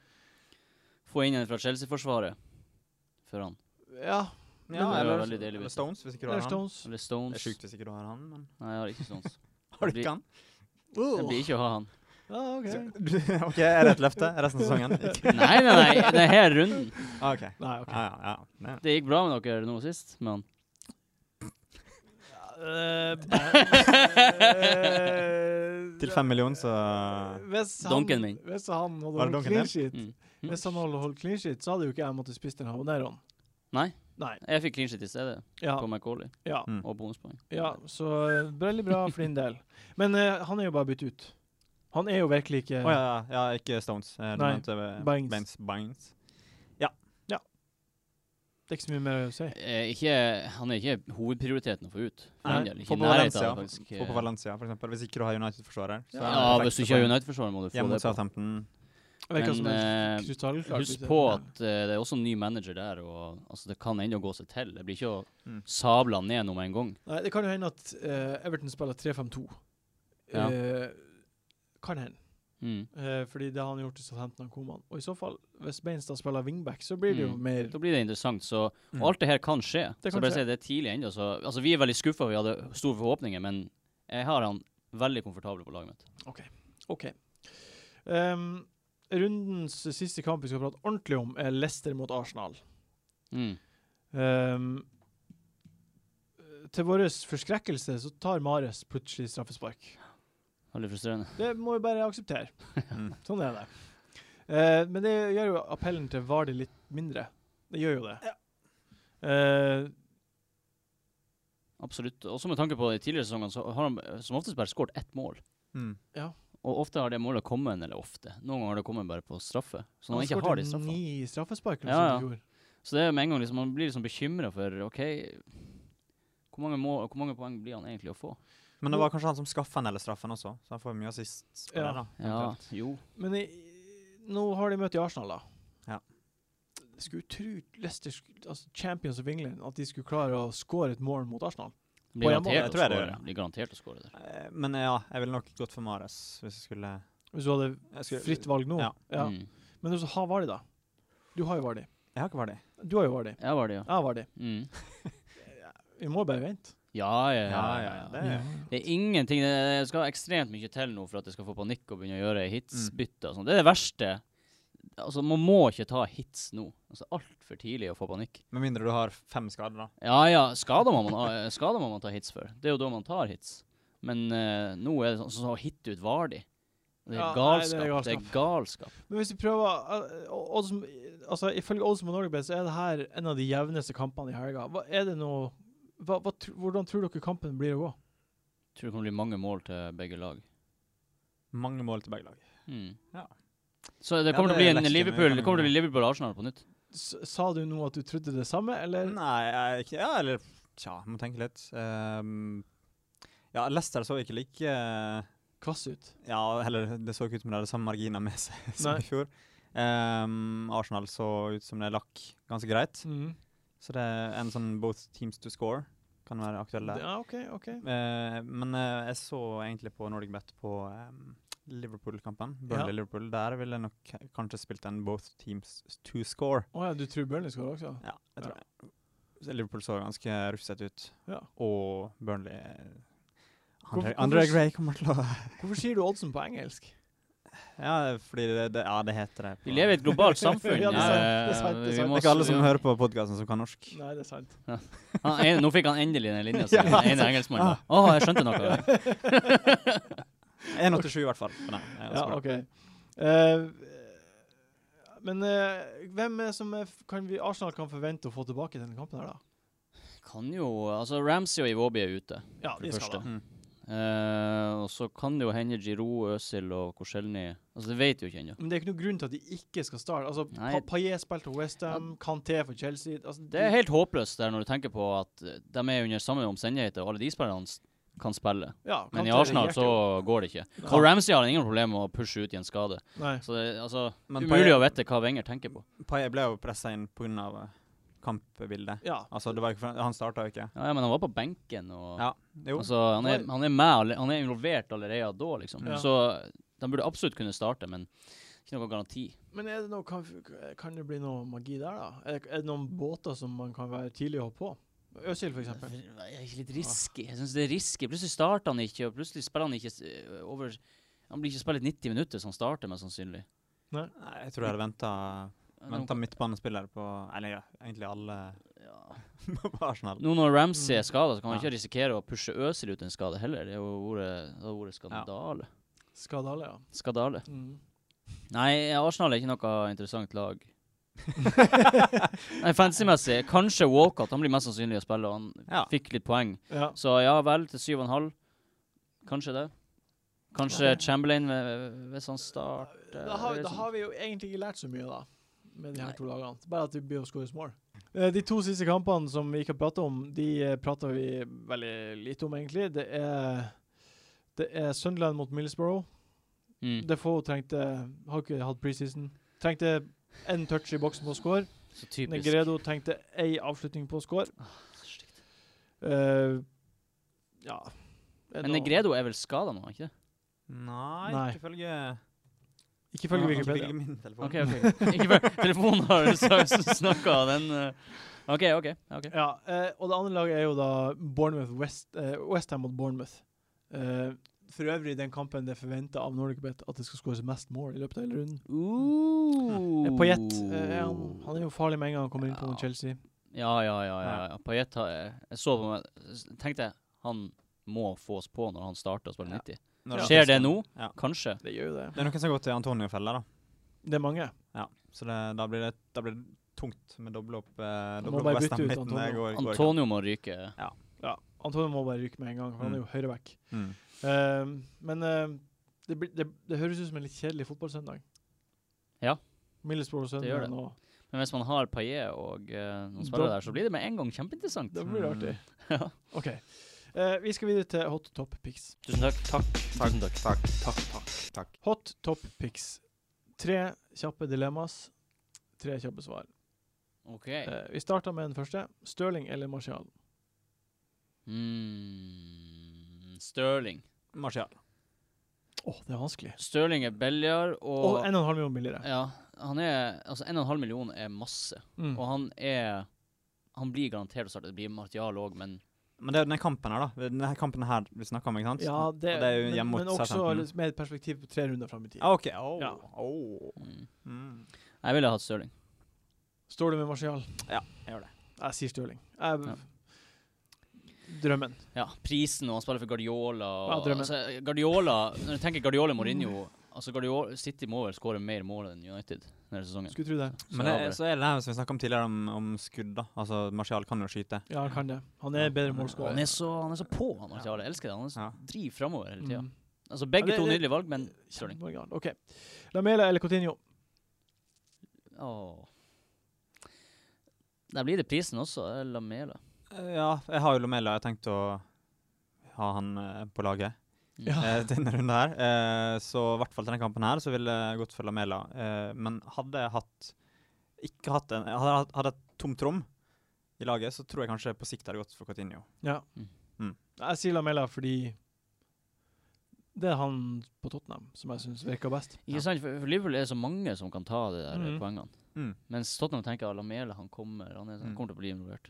Speaker 2: Få inn en fra Chelsea-forsvaret for han.
Speaker 1: Ja.
Speaker 4: Ja,
Speaker 2: det er jo
Speaker 4: eller,
Speaker 2: veldig deilig
Speaker 4: eller
Speaker 2: hvis det-
Speaker 4: Stones, hvis Mm. ikke du har
Speaker 1: Eller
Speaker 4: han.
Speaker 1: Stones.
Speaker 2: Eller
Speaker 4: Det er
Speaker 2: Stones.
Speaker 4: sjukt hvis ikke du har han, men
Speaker 2: Nei, jeg har ikke Stones.
Speaker 4: har
Speaker 2: Det
Speaker 4: du ikke han?
Speaker 2: Jeg blir ikke å ha han.
Speaker 1: Oh, Ja, OK.
Speaker 4: OK, er det et løfte resten av sesongen? Ikke?
Speaker 2: Nei, nei, nei, det er her runden.
Speaker 4: Ah, OK.
Speaker 1: Nei, OK.
Speaker 4: Ja, ja, ja. Nei.
Speaker 2: Det gikk bra med dere nå sist, men
Speaker 1: Eh, eh,
Speaker 4: Til fem millioner, så
Speaker 1: Hvis han-
Speaker 2: Dunken min.
Speaker 1: Hvis han hadde
Speaker 4: Var det
Speaker 1: holdt
Speaker 4: dunken
Speaker 1: clean
Speaker 4: din?
Speaker 1: sheet,
Speaker 2: mm.
Speaker 1: hvis han hadde holdt clean sheet, så hadde jo ikke jeg måttet spise den habaneroen.
Speaker 2: Nei.
Speaker 1: Nei.
Speaker 2: Jeg fikk clean shit i stedet,
Speaker 1: Ja,
Speaker 2: på McCauley,
Speaker 1: ja,
Speaker 4: Mm.
Speaker 2: og bonuspoeng.
Speaker 1: ja, så eh, veldig bra for din del. Men eh, han er jo bare bytt ut. Han er jo virkelig ikke
Speaker 4: Å ja, ja, ja, ikke Stones. Eh, Du
Speaker 1: Nei,
Speaker 4: mente eh,
Speaker 1: Bynes.
Speaker 4: Baines. Bynes.
Speaker 1: Det er ikke så mye mer å si.
Speaker 2: Eh, ikke, han er ikke hovedprioriteten å få ut. For
Speaker 4: Nei,
Speaker 2: min del. Ikke
Speaker 4: få på
Speaker 2: i nærheten
Speaker 4: Valencia.
Speaker 2: av det, faktisk. eh.
Speaker 4: Få på Valencia, for eksempel. Hvis ikke du har United-forsvarer. så er det
Speaker 2: Ja,
Speaker 4: perfekt
Speaker 2: hvis du ikke har
Speaker 4: poeng.
Speaker 2: United-forsvarer, må du få
Speaker 4: Hjemme
Speaker 2: det
Speaker 4: mot
Speaker 2: på.
Speaker 4: Southampton.
Speaker 1: Det virker
Speaker 2: Men
Speaker 1: som en
Speaker 2: eh,
Speaker 1: krystallklar
Speaker 2: husk
Speaker 1: bytte.
Speaker 2: på at eh, det er også en ny manager der, og altså, det kan ennå gå seg til. Det blir ikke å
Speaker 4: Mm.
Speaker 2: sable han ned nå med en gang.
Speaker 1: Nei, det kan jo hende at eh, Everton spiller 3-5-2.
Speaker 2: Ja.
Speaker 1: Eh, kan hende.
Speaker 2: Mm.
Speaker 1: Eh, fordi det har han gjort i Southampton og Koman. Og i så fall, hvis Beinstad spiller wingback, så blir det jo
Speaker 2: Mm.
Speaker 1: mer
Speaker 2: Da blir det interessant. Så
Speaker 4: Mm.
Speaker 2: og alt det her kan skje.
Speaker 1: Det
Speaker 2: Det
Speaker 1: kan
Speaker 2: så bare
Speaker 1: skje.
Speaker 2: si det er tidlig ennå. Så, altså, vi er veldig skuffa, vi hadde store forhåpninger, men jeg har han veldig komfortabel på laget mitt.
Speaker 1: OK. Ehm, rundens siste kamp vi skal prate ordentlig om, er Leicester mot Arsenal.
Speaker 2: Mm.
Speaker 1: Ehm, til vår forskrekkelse så tar Mares plutselig straffespark.
Speaker 2: Veldig frustrerende.
Speaker 1: Det må vi bare akseptere.
Speaker 4: Mm.
Speaker 1: Sånn er det. Eh, men det gjør jo appellen til Vardy litt mindre. Det gjør jo det. Eh,
Speaker 2: Absolutt. Også med tanke på de tidligere sesongene, så har han eh, som oftest bare skåret ett mål.
Speaker 4: Mm.
Speaker 2: Og ofte har det målet kommet, eller ofte, noen ganger har det kommet bare på straffe. Så når han ikke
Speaker 1: skårte
Speaker 2: har de straffene.
Speaker 1: Ni straffespark eller
Speaker 2: Ja,
Speaker 1: noe
Speaker 2: ja.
Speaker 1: sånt i fjor.
Speaker 2: Så det er med en gang liksom, man blir liksom bekymra for OK, hvor mange, må, hvor mange poeng blir han egentlig å få?
Speaker 4: Men det var kanskje han som skaffa den eller straffen også, så han får mye assist. på
Speaker 1: Ja.
Speaker 4: det da.
Speaker 2: Ja, jo.
Speaker 1: Men i, nå har de møte i Arsenal, da.
Speaker 4: Ja.
Speaker 1: Jeg skulle tro Leicester, sk- altså Champions of England, at de skulle klare å skåre et mål mot Arsenal.
Speaker 2: Han
Speaker 1: På
Speaker 2: Blir
Speaker 1: hjemme-
Speaker 4: Jeg
Speaker 2: garantert,
Speaker 4: tror
Speaker 2: å
Speaker 4: jeg det
Speaker 2: score.
Speaker 4: gjør, ja.
Speaker 2: blir garantert å score der.
Speaker 4: Eh, Men ja, jeg ville nok gått for Mares hvis jeg skulle,
Speaker 1: Hvis du hadde
Speaker 4: jeg skulle
Speaker 1: fritt valg nå.
Speaker 4: Ja.
Speaker 2: Mm.
Speaker 1: Men så ha Vardy, da. Du har jo Vardy.
Speaker 4: Jeg har ikke Vardy.
Speaker 1: Du har jo Vardy.
Speaker 2: Ja, var det, ja.
Speaker 1: Jeg har Vardy.
Speaker 2: Mm.
Speaker 1: Vi må bare vente.
Speaker 2: Ja, ja, ja. ja,
Speaker 4: Det
Speaker 2: ja.
Speaker 4: er
Speaker 2: Det er ingenting Det det skal ekstremt mye til nå for at jeg skal få panikk og begynne å gjøre hitsbytter og sånn. Det er det verste. Altså, man må ikke ta hits nå. Altså, Altfor tidlig å få panikk.
Speaker 4: Med mindre du har fem skader, da.
Speaker 2: Ja ja, skader må man, eh, skader må man ta hits for. Det er jo da man tar hits. Men eh, nå er det sånn som å hitte ut Vardi. Det er
Speaker 1: Ja, nei, det
Speaker 2: galskap.
Speaker 1: er
Speaker 2: det er galskap.
Speaker 1: Men hvis vi prøver eh, odds, altså Ifølge Odds på Norgebet så er det her en av de jevneste kampene i helga. Hva er det nå hva, hva, tr- Hvordan tror dere kampen blir å gå?
Speaker 2: Tror det kommer til å bli mange mål til begge lag.
Speaker 4: Mange mål til begge lag.
Speaker 2: Mm.
Speaker 4: Ja.
Speaker 2: Så det
Speaker 4: Ja,
Speaker 2: kommer
Speaker 4: det
Speaker 2: til
Speaker 4: er
Speaker 2: å bli en
Speaker 4: Leicester, men
Speaker 2: Liverpool Det
Speaker 4: kan
Speaker 2: kommer
Speaker 4: jo-
Speaker 2: til å bli Liverpool-Arsenal på nytt.
Speaker 1: S sa du nå at du trodde det samme, eller?
Speaker 4: Eh, Nei, jeg, ikke- ja, eller Tja, må tenke litt. Ehm, ja, Leicester så ikke like eh,
Speaker 1: Kvass ut.
Speaker 4: Ja, heller det så ikke ut som de hadde samme marginer med seg som
Speaker 1: Nei.
Speaker 4: i fjor. Ehm, Arsenal så ut som det lakk ganske greit.
Speaker 1: Mm.
Speaker 4: Så det er en sånn both teams to score kan være aktuell der.
Speaker 1: Ja, OK. ok.
Speaker 4: Eh, men eh, jeg så egentlig på Nordic Bet på ehm, Liverpool-kampen. Burnley-Liverpool. Der ville jeg nok k- kanskje spilt en both teams to score.
Speaker 1: Å ja, du tror Burnley skårer også?
Speaker 4: Ja, jeg tror det. Liverpool så ganske rufsete ut,
Speaker 1: Ja.
Speaker 4: og Burnley eh,
Speaker 1: Hvorfor-
Speaker 4: Andre,
Speaker 1: hvorfor
Speaker 4: Andre
Speaker 1: s-
Speaker 4: Gray kommer til å
Speaker 1: Hvorfor sier du oddsen på engelsk?
Speaker 4: Ja, fordi det, det, ja, det heter det.
Speaker 2: Vi lever i et globalt samfunn.
Speaker 1: Ja, det er sant, det er
Speaker 2: eh,
Speaker 1: sant, det er
Speaker 2: vi
Speaker 1: sant.
Speaker 2: må
Speaker 4: Det er ikke alle
Speaker 2: s-
Speaker 4: som hører på podkasten som kan norsk.
Speaker 1: Nei, det er sant.
Speaker 2: Han, en, nå fikk han endelig den linja.
Speaker 4: Ja,
Speaker 2: Ja, den ene engelskmannen. Å, jeg skjønte noe.
Speaker 4: 1,87 i hvert fall. Men Nei, det
Speaker 1: Ja,
Speaker 4: er ganske bra.
Speaker 1: OK. Eh, men eh, hvem er som er f- kan vi Arsenal kan forvente å få tilbake i denne kampen her, da?
Speaker 2: Kan jo Altså, Ramsey og Iwobi er ute,
Speaker 1: Ja,
Speaker 2: for
Speaker 1: de
Speaker 2: det
Speaker 1: skal
Speaker 2: første.
Speaker 1: da.
Speaker 4: Mm.
Speaker 2: Eh, og så kan det jo hende Giroud, Øzil og Korselny Altså, det vet vi jo ikke ennå.
Speaker 1: Men det er ikke noen grunn til at de ikke skal starte. Altså,
Speaker 2: Nei.
Speaker 1: pa Paillet spilte for Westham, Kanté for Chelsea altså,
Speaker 2: Det er helt håpløst der når du tenker på at eh, de er under samme omstendigheter, og alle de spillerne s- kan spille.
Speaker 1: ja,
Speaker 2: Men
Speaker 1: Kanté
Speaker 2: i
Speaker 1: er
Speaker 2: Arsenal så
Speaker 1: hjertelig-
Speaker 2: går det ikke.
Speaker 1: Nei.
Speaker 2: Og Ramsey har ingen problemer med å pushe ut i en skade.
Speaker 1: Nei.
Speaker 2: Så det er altså
Speaker 4: Men
Speaker 2: umulig
Speaker 4: Paillet-
Speaker 2: å vite hva Wenger tenker på.
Speaker 4: Paillet ble jo pressa inn pga. eh, kampbildet.
Speaker 1: Ja.
Speaker 4: Altså, det var ikke, han starta jo ikke.
Speaker 2: Ja, ja, men han var på benken og
Speaker 4: Ja, jo.
Speaker 2: Altså, han er,
Speaker 1: Nei.
Speaker 2: han er med, alle- han er involvert allerede da, liksom.
Speaker 1: Ja.
Speaker 2: Så de burde absolutt kunne starte, men ikke noe garanti.
Speaker 1: Men er det noe, kan, kan det bli noe magi der, da? Er det, er det noen båter som man kan være tidlig å hoppe på? Øsil, for eksempel.
Speaker 2: Det er litt risky. Jeg synes det er risky. Plutselig starter han ikke, og plutselig spiller han ikke s- eh, over Han blir ikke spillet 90 minutter, som starter mest sannsynlig.
Speaker 4: Nei, jeg tror jeg hadde venta Venta midtbanespiller på Eller ja, egentlig alle
Speaker 2: Ja.
Speaker 4: på Arsenal.
Speaker 2: Nå når
Speaker 1: Mm.
Speaker 2: Ramsey er skada, så kan man
Speaker 4: Ja.
Speaker 2: ikke risikere å pushe Øsil ut en skade heller. Det er jo ordet, det er ordet skandale.
Speaker 1: Skadale, ja.
Speaker 2: Skadale.
Speaker 1: Mm.
Speaker 2: Nei, Arsenal er ikke noe interessant lag. Nei, Fancy-messig. Kanskje Walcott. Han blir mest sannsynlig å spille, og han
Speaker 4: Ja.
Speaker 2: fikk litt poeng.
Speaker 1: ja.
Speaker 2: Så ja vel, til 7,5. Kanskje det. Kanskje Chamberlain ved- sånn hvis han starter.
Speaker 1: Da har,
Speaker 2: eller
Speaker 1: da
Speaker 2: sånn.
Speaker 1: har vi jo egentlig ikke lært så mye, da. Med de her
Speaker 2: Nei.
Speaker 1: to lagene. Bare at vi blir å skåre mål. Eh, De to siste kampene som vi ikke har prata om, de eh, prater vi veldig lite om, egentlig. Det er, det er Sunderland mot Millsborough.
Speaker 2: Mm.
Speaker 1: Defoe trengte Har ikke hatt preseason. Trengte én touch i boksen på å score.
Speaker 2: Så typisk. Ah,
Speaker 1: Negredo trengte ei avslutning på å score.
Speaker 2: Stygt.
Speaker 1: Eh, ja Er
Speaker 2: Men
Speaker 1: det noe-
Speaker 2: Negredo er vel skada nå, ikke det?
Speaker 4: Nei,
Speaker 1: Nei.
Speaker 4: ikke følge
Speaker 1: Ikke følge
Speaker 4: Ja, ikke
Speaker 1: Wikipedia.
Speaker 4: følge min telefon.
Speaker 2: OK, OK. Ikke før telefonen har snakka, den eh, OK, OK. ok.
Speaker 1: Ja, eh, og det andre laget er jo da Bournemouth West, eh, West Ham mot Bournemouth. Eh, for øvrig den kampen det er forventa av Nordic Bet at det skal skåres mest mål i løpet av hele runden. Eh, Payet eh, er han, han er jo farlig med en gang han kommer inn på
Speaker 2: Oh. Ja.
Speaker 1: Chelsea.
Speaker 2: Ja, ja, ja. ja,
Speaker 4: Ja.
Speaker 2: ja. Payet har jeg, jeg så på meg s- Tenkte jeg, han må fås på når han starter å spille
Speaker 4: Ja.
Speaker 2: 90.
Speaker 4: Når
Speaker 2: Skjer det nå?
Speaker 4: Ja.
Speaker 2: Kanskje.
Speaker 1: Det gjør jo det.
Speaker 4: Det er noen som har gått til Antonio-fella, da.
Speaker 1: Det er mange.
Speaker 4: Så det, da, blir det, da blir det tungt med doble opp, eh,
Speaker 1: Må
Speaker 4: doble
Speaker 1: bare
Speaker 4: opp West
Speaker 1: bytte
Speaker 4: Ham
Speaker 1: ut
Speaker 4: midten. Det
Speaker 1: Antonio.
Speaker 4: går, går ikke.
Speaker 2: Antonio må ryke.
Speaker 1: Ja, Antonio må bare ryke med en gang, for han er jo høyreback.
Speaker 4: Mm.
Speaker 1: Eh, men eh, det, blir- det, det høres ut som en litt kjedelig fotballsøndag.
Speaker 2: Ja.
Speaker 1: Middlesbrough og
Speaker 2: Det gjør det.
Speaker 1: Sunderland og
Speaker 2: Men hvis man har Payet og eh, noen
Speaker 1: Da-
Speaker 2: spillere der, så blir det med en gang kjempeinteressant.
Speaker 1: Da blir det artig.
Speaker 2: Mm. Ja.
Speaker 1: OK. Eh, vi skal videre til hot top picks.
Speaker 2: Tusen takk. Takk. Tusen takk.
Speaker 4: Takk, takk, takk. takk.
Speaker 1: Hot top picks. Tre kjappe dilemmas. Tre kjappe svar.
Speaker 2: OK.
Speaker 1: Eh, vi starter med den første. Stirling eller Martial?
Speaker 2: Mm, Stirling.
Speaker 4: Martial.
Speaker 1: Å, det er vanskelig.
Speaker 2: Stirling er billigere
Speaker 1: Og
Speaker 2: og
Speaker 1: 1,5 million billigere.
Speaker 2: Ja. Han er Altså, 1,5 million er masse.
Speaker 1: Mm.
Speaker 2: Og han er Han blir garantert å starte. Det blir Martial òg, men
Speaker 4: Men det er jo denne kampen her, da. Denne kampen her vi snakker om, ikke sant?
Speaker 1: Ja, det,
Speaker 4: Og det er jo
Speaker 1: men,
Speaker 4: hjemme mot
Speaker 1: men også
Speaker 4: Southampton.
Speaker 1: litt med et perspektiv på tre runder fram i tid.
Speaker 4: Ah, OK. Au.
Speaker 1: Ja.
Speaker 4: au.
Speaker 2: mm.
Speaker 4: Mm.
Speaker 2: Jeg ville hatt Stirling.
Speaker 1: Står du med Martial?
Speaker 4: Jeg gjør det.
Speaker 1: Jeg sier Stirling. Jeg,
Speaker 2: Ja.
Speaker 1: Drømmen.
Speaker 2: Ja, prisen, og han spiller for Guardiola og,
Speaker 1: Ja, drømmen.
Speaker 2: altså, Guardiola Når du tenker Guardiola Mourinho Altså, Guardiola City må vel skåre mer mål enn United denne sesongen.
Speaker 1: Skulle tro det.
Speaker 2: Så
Speaker 4: Men det,
Speaker 2: jeg har
Speaker 4: så er det det her som vi snakka om tidligere, om, om skudd, da. Altså, Martial kan jo skyte.
Speaker 1: Ja, han kan det. Han er bedre
Speaker 2: bare-
Speaker 1: målskårer.
Speaker 2: han er så, han er så på, han Martial. Jeg elsker det. Han er så
Speaker 4: Ja.
Speaker 2: driv framover hele tida.
Speaker 1: Mm.
Speaker 2: Altså, begge
Speaker 1: Ja, det-
Speaker 2: to
Speaker 1: det-
Speaker 2: nydelige valg, men Stirling
Speaker 1: Kjempeoriginal. OK. Lamela eller Coutinho?
Speaker 2: Åh. Der blir det prisen også. eh, Lamela.
Speaker 4: Ja, jeg har jo Lomella. Jeg har tenkt å ha han eh, på laget
Speaker 2: Mm.
Speaker 1: Ja.
Speaker 4: eh, til denne runden her. Eh, så i hvert fall til denne kampen her, så ville jeg gått for Lamela. Eh, men hadde jeg hatt ikke hatt en Hadde jeg hatt- hadde jeg et tomt rom i laget, så tror jeg kanskje på sikt hadde jeg gått for Coutinho.
Speaker 1: Ja.
Speaker 2: Mm.
Speaker 4: Mm.
Speaker 1: Jeg sier Lamela fordi det er han på Tottenham som jeg syns virker best.
Speaker 2: Ikke sant? For, for Liverpool er det så mange som kan ta de der
Speaker 1: Mhm.
Speaker 2: eh, poengene.
Speaker 4: Mm.
Speaker 2: Mens Tottenham tenker at Lamela han kommer, han, er, han
Speaker 4: Mm.
Speaker 2: kommer til å bli involvert.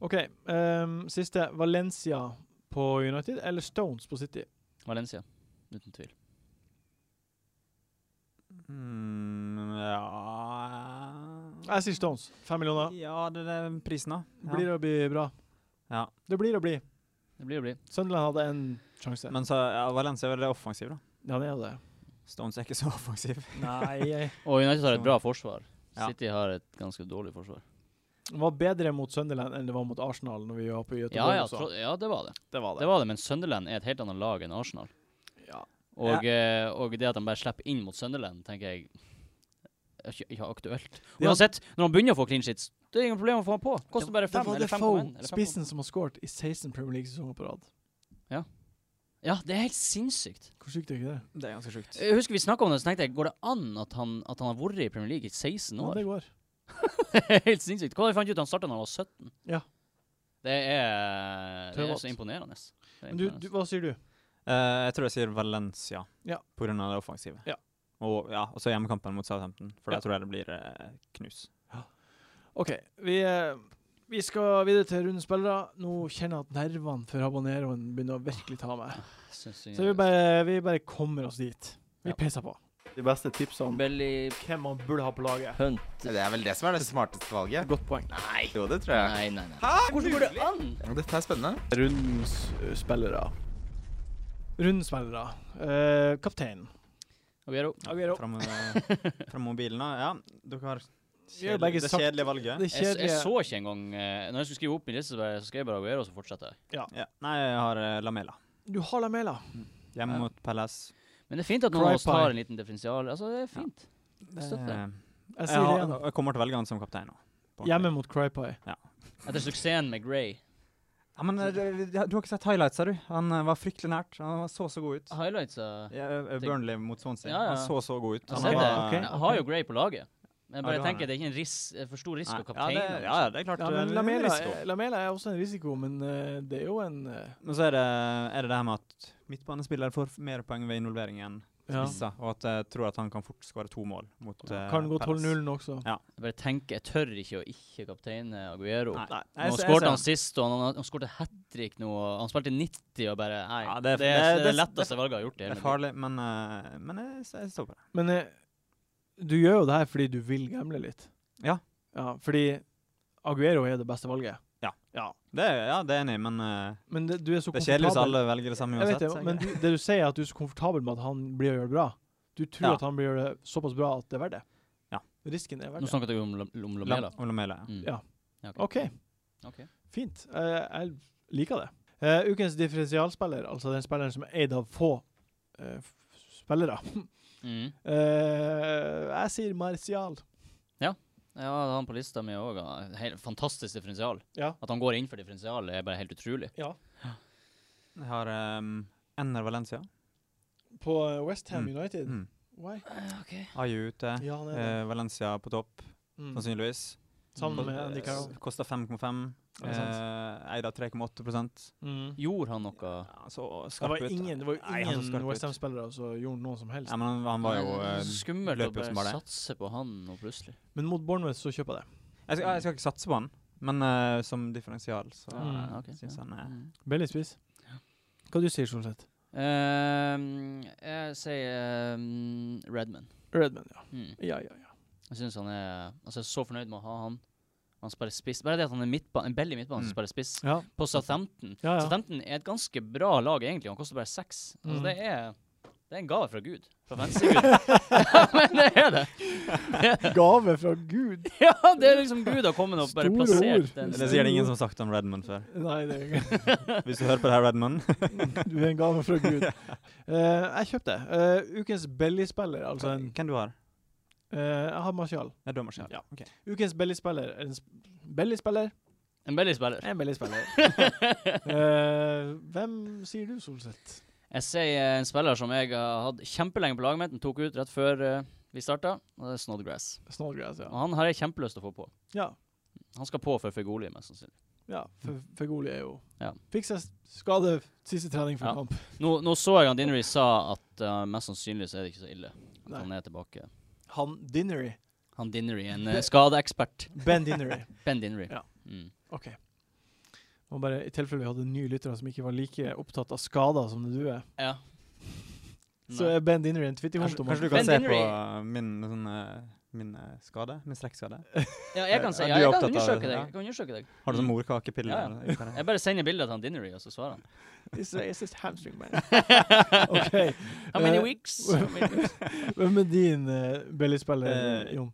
Speaker 1: OK, ehm, siste. Valencia på United eller Stones på City?
Speaker 2: Valencia, uten tvil.
Speaker 4: Mm, ja
Speaker 1: Jeg sier Stones. Fem millioner.
Speaker 4: Ja, det er den prisen, da. Ja.
Speaker 1: Blir å bli bra.
Speaker 4: Ja.
Speaker 1: Det blir å bli.
Speaker 2: Det blir å bli.
Speaker 1: Sunderland hadde en sjanse.
Speaker 4: Men så ja, Valencia er veldig offensiv, da.
Speaker 1: ja, det er det.
Speaker 4: Stones er ikke så offensiv.
Speaker 1: Nei.
Speaker 2: Og United har
Speaker 4: Så-
Speaker 2: et bra forsvar.
Speaker 4: Ja.
Speaker 2: City har et ganske dårlig forsvar.
Speaker 1: Det var bedre mot Sunderland enn det var mot Arsenal når vi var på Göteborg.
Speaker 2: Ja, ja,
Speaker 1: også.
Speaker 2: tro, ja, det var det.
Speaker 1: det var
Speaker 2: Det var det, men Sunderland er et helt annet lag enn Arsenal.
Speaker 1: Ja.
Speaker 2: Og, eh, og det at de bare slipper inn mot Sunderland, tenker jeg er ikke, ikke aktuelt.
Speaker 1: Ja.
Speaker 2: Uansett, når han begynner å få clean sheets, det er ingen problem å få han på. Koster bare fem eller fem
Speaker 1: Defoe,
Speaker 2: poeng, eller fem
Speaker 1: spissen som har skåret i 16 Premier League-sesonger på rad.
Speaker 2: poeng. Ja, det er helt sinnssykt.
Speaker 1: Hvor sykt er ikke det?
Speaker 4: Det er ganske sjukt.
Speaker 2: Jeg husker vi snakka om det, så tenkte jeg går det an at han, at han har vært i Premier League i 16
Speaker 1: Ja,
Speaker 2: år?
Speaker 1: det går.
Speaker 2: helt sinnssykt. Hva fant du ut han starta da han var 17?
Speaker 1: Ja.
Speaker 2: Det er, det er
Speaker 1: Tøvete.
Speaker 2: så imponerende. Det er
Speaker 1: Men du,
Speaker 2: imponerende.
Speaker 1: du, hva sier du?
Speaker 4: Eh, jeg tror jeg sier Valencia
Speaker 1: Ja.
Speaker 4: pga. det offensive.
Speaker 1: Ja.
Speaker 4: Og ja, og så hjemmekampen mot Southampton, for
Speaker 1: Ja.
Speaker 4: da tror jeg det blir eh, knus.
Speaker 1: OK, vi eh, Vi skal videre til rundens spillere. Nå kjenner jeg at nervene for habaneroen begynner å virkelig ta meg.
Speaker 2: Syns
Speaker 1: Så vi bare, vi bare kommer oss dit. Vi
Speaker 2: Ja.
Speaker 1: peiser på.
Speaker 3: De beste tipsene
Speaker 5: Belly
Speaker 1: Hvem man burde ha på laget.
Speaker 5: Hunt.
Speaker 6: Det er vel det som er det smarteste valget.
Speaker 1: Godt poeng.
Speaker 5: Nei.
Speaker 6: Jo, det tror jeg.
Speaker 5: Nei, nei, nei.
Speaker 6: Hæ?
Speaker 5: Hvordan går det an?
Speaker 6: Dette er spennende.
Speaker 3: Rundens eh, spillere.
Speaker 1: Rundens spillere. Eh, kaptein.
Speaker 2: Aguero.
Speaker 1: Aguero.
Speaker 4: Fra, mo- fra mobilen, da. Ja, dere har
Speaker 1: Vi har
Speaker 4: kjedelig,
Speaker 1: begge
Speaker 4: det
Speaker 1: sagt-
Speaker 4: kjedelige valget.
Speaker 1: Det
Speaker 2: Jeg, s- jeg
Speaker 1: kjedelige
Speaker 2: så ikke engang eh, Når jeg skulle skrive opp min liste, så, bare, så skrev jeg bare Aguero, og så fortsetter jeg.
Speaker 4: Ja. Nei, jeg har eh, Lamela.
Speaker 1: Du har Lamela.
Speaker 4: Hjemme
Speaker 2: Ja.
Speaker 4: mot Palace.
Speaker 2: Men det er fint at noen av oss
Speaker 1: Crypie.
Speaker 2: tar en liten differensial. Altså, det er fint. Støtter.
Speaker 4: Eh,
Speaker 1: Jeg
Speaker 4: Jeg,
Speaker 1: sier det
Speaker 4: har,
Speaker 1: igjen.
Speaker 4: jeg kommer til å velge han som kaptein nå. på ordentlig.
Speaker 1: Hjemme mot Crypie.
Speaker 2: Etter suksessen med Gray.
Speaker 4: Ja, men eh, du du har ikke sett highlights, har du? Han eh, var fryktelig nært. Han var så så god ut.
Speaker 2: Highlights eh,
Speaker 4: Ja, eh, eh, Burnley mot Swansea.
Speaker 2: Ja, ja.
Speaker 4: Han så så god ut.
Speaker 2: Jeg
Speaker 4: Han
Speaker 2: ser det.
Speaker 4: var-
Speaker 1: Ok.
Speaker 2: Jeg har jo Gray på laget. Men jeg
Speaker 4: Ja,
Speaker 2: bare
Speaker 4: du har
Speaker 2: tenker
Speaker 4: det.
Speaker 2: det er ikke en ris eh, for stor
Speaker 4: Nei,
Speaker 2: risiko å
Speaker 4: ja,
Speaker 2: kapteine.
Speaker 4: det-
Speaker 2: han,
Speaker 4: ja, ja, det er klart.
Speaker 1: Ja,
Speaker 4: det er
Speaker 1: men
Speaker 4: en
Speaker 1: Lamela,
Speaker 4: risiko.
Speaker 1: eh, Lamela er også en risiko, men eh, det er jo en eh,
Speaker 4: Men så er det, er det det her med at midtbanespillere får mer poeng ved involvering enn
Speaker 1: ja.
Speaker 4: spisser, og at jeg tror at han kan fort skåre to mål mot eh,
Speaker 1: Kan gå
Speaker 4: Palace.
Speaker 1: 12-0 også.
Speaker 2: Jeg bare tenker, jeg tør ikke å ikke kapteine Aguero.
Speaker 4: Nei. Nei, jeg
Speaker 2: Nå
Speaker 4: ser- jeg
Speaker 2: skåret
Speaker 4: ser
Speaker 2: han sist, og han, han skåret hat trick nå. og Han spilte 90 og bare Nei,
Speaker 4: Ja,
Speaker 2: det, er, det,
Speaker 4: det er-
Speaker 2: er,
Speaker 4: det-
Speaker 2: det
Speaker 4: det-
Speaker 2: letteste valget jeg har gjort i
Speaker 4: Det
Speaker 2: hele
Speaker 4: er
Speaker 2: mitt liv.
Speaker 4: farlig, men, eh, men jeg, s- jeg står på det.
Speaker 1: Men eh, du gjør jo det her fordi du vil gamble litt.
Speaker 4: Ja.
Speaker 1: ja. Fordi Aguero er det beste valget.
Speaker 4: det er, ja, det er enig, men eh,
Speaker 1: Men det, du er så
Speaker 4: det er kjedelig hvis
Speaker 1: komfortabel.
Speaker 4: alle velger det samme
Speaker 1: Jeg vet
Speaker 4: uansett.
Speaker 1: det,
Speaker 4: så jeg-
Speaker 1: men du, det du sier, er at du er så komfortabel med at han blir å gjøre det bra. Du tror
Speaker 4: Ja.
Speaker 1: at han blir å gjøre det såpass bra at det er verdt det.
Speaker 4: Ja.
Speaker 1: Risken er
Speaker 2: Nå
Speaker 1: verdt det.
Speaker 2: snakket jeg jo om, Lam- om
Speaker 4: Lam-
Speaker 2: Lamela.
Speaker 4: om Lamela, ja.
Speaker 2: Mm.
Speaker 1: Ja.
Speaker 2: Ja, ok.
Speaker 1: OK,
Speaker 2: Ok.
Speaker 1: fint. Eh, jeg liker det. Eh, ukens differensialspiller, altså den spilleren som er eid av få eh, f- spillere
Speaker 2: Mm.
Speaker 1: Eh, Jeg sier Martial.
Speaker 2: Ja, han på lista mi òg. Fantastisk differensial.
Speaker 1: Ja.
Speaker 2: At han går inn for differensial, er bare helt utrolig.
Speaker 4: Jeg har um, Enner Valencia.
Speaker 1: På eh, West Ham
Speaker 4: Mm.
Speaker 1: United.
Speaker 4: Mm.
Speaker 1: Why?
Speaker 4: Aju ute.
Speaker 1: Ja, han er det.
Speaker 4: eh, Valencia på topp,
Speaker 1: Mm.
Speaker 4: sannsynligvis.
Speaker 1: Sammen med
Speaker 4: Eh,
Speaker 1: Andy Carroll.
Speaker 4: s- Koster 5,5.
Speaker 1: Ja, det er sant.
Speaker 4: eh, Eid av 3,8
Speaker 1: Mm.
Speaker 2: Gjorde han noe
Speaker 4: Ja, Så
Speaker 1: Det
Speaker 4: skarp
Speaker 1: var
Speaker 4: ut.
Speaker 1: ingen, det var jo
Speaker 4: Nei, han så skarp
Speaker 1: ingen
Speaker 4: ut.
Speaker 1: West Ham-spillere som gjorde noe som helst.
Speaker 4: Ja, men han, han var jo
Speaker 2: Nei,
Speaker 4: eh,
Speaker 2: det er så Skummelt å
Speaker 4: løper jo som
Speaker 2: bare
Speaker 4: bare det.
Speaker 2: satse på han nå plutselig.
Speaker 1: Men mot Bournemouth så kjøper jeg det.
Speaker 4: jeg skal, jeg skal ikke satse på han, men eh, som differensial så
Speaker 1: Mm.
Speaker 4: uh,
Speaker 2: Ok,
Speaker 4: syns
Speaker 2: ja.
Speaker 4: han er
Speaker 2: Mm.
Speaker 1: Billig spiss. Hva du sier du, Solseth?
Speaker 2: Ehm, jeg sier ehm, Redman.
Speaker 1: Redman, ja.
Speaker 2: Mm.
Speaker 1: Ja, ja, ja.
Speaker 2: Jeg synes han er Altså, jeg er så fornøyd med å ha han. Han spiller spiss. Bare det at han er midtbane, en belly midtbane som
Speaker 4: Mm.
Speaker 2: spiller spiss,
Speaker 1: Ja,
Speaker 2: på Southampton.
Speaker 1: ja, ja.
Speaker 2: Southampton er et ganske bra lag, egentlig. Han koster bare seks. Altså,
Speaker 1: Mm.
Speaker 2: det er Det er en gave fra Gud. Fra fansegud. Men det er det.
Speaker 1: Gave fra Gud!
Speaker 2: Ja, det er liksom Gud har kommet og
Speaker 1: Store
Speaker 2: bare plassert
Speaker 1: ord.
Speaker 2: den.
Speaker 4: Det er sikkert ingen som har sagt om Redmond før.
Speaker 1: Nei, det er ikke
Speaker 4: Hvis du hører på det her, Redmond
Speaker 1: Du er en gave fra Gud. Eh, jeg kjøpte. Uh, ukens Belly-spiller, altså en
Speaker 4: Hvem du har?
Speaker 1: eh, Jeg har Martial.
Speaker 4: Det er dommerskjell.
Speaker 1: Ja.
Speaker 4: ok.
Speaker 1: Ukens Belly-spiller er en sp Belly-spiller
Speaker 2: En Belly-spiller.
Speaker 1: er en Belly-spiller. Eh, hvem sier du, Solseth?
Speaker 2: Jeg sier en spiller som jeg har hatt kjempelenge på laget mitt, den tok ut rett før eh, vi starta, og det er Snodgrass.
Speaker 1: Snodgrass,
Speaker 2: Og
Speaker 1: ja.
Speaker 2: han har jeg kjempelyst til å få på.
Speaker 1: Ja.
Speaker 2: Han skal på for Fegoli, mest sannsynlig.
Speaker 1: ja for, for Goli er jo
Speaker 2: Ja.
Speaker 1: Fiksa skade siste trening før
Speaker 2: Ja.
Speaker 1: kamp.
Speaker 2: Nå, nå så jeg han Dinnery sa at eh, mest sannsynlig så er det ikke så ille at
Speaker 1: Nei.
Speaker 2: han er tilbake.
Speaker 1: Han Dinnery.
Speaker 2: Han Dinnery, en eh, skadeekspert.
Speaker 1: Ben Dinnery.
Speaker 2: Ben Dinnery.
Speaker 1: Ja.
Speaker 2: Mm.
Speaker 1: OK. Må bare, I tilfelle vi hadde nye lyttere som ikke var like opptatt av skader som det du er,
Speaker 2: ja.
Speaker 1: så er Ben Dinnery en
Speaker 4: Kanskje,
Speaker 1: twitterkonto. man-
Speaker 4: kanskje du
Speaker 2: Men
Speaker 4: kan se på
Speaker 2: Dinnery-
Speaker 4: uh, min, sånn, uh, min uh, skade? Min strekkskade?
Speaker 2: ja, jeg kan si, ja,
Speaker 4: Ja, du er
Speaker 2: jeg, kan
Speaker 4: opptatt av
Speaker 2: undersøke
Speaker 4: det,
Speaker 2: deg.
Speaker 4: ja.
Speaker 2: jeg kan undersøke deg.
Speaker 4: Har du sånn
Speaker 2: Mm.
Speaker 4: morkakepille?
Speaker 2: Ja, ja.
Speaker 4: eller? Ikke det?
Speaker 2: Jeg bare sender bilder til han Dinnery, og så svarer han.
Speaker 1: It's, it's just hamstring, man. OK.
Speaker 2: How many
Speaker 1: Eh,
Speaker 2: weeks? How many weeks?
Speaker 1: Hvem er din uh, Belly-spiller,
Speaker 4: Eh,
Speaker 1: Jon?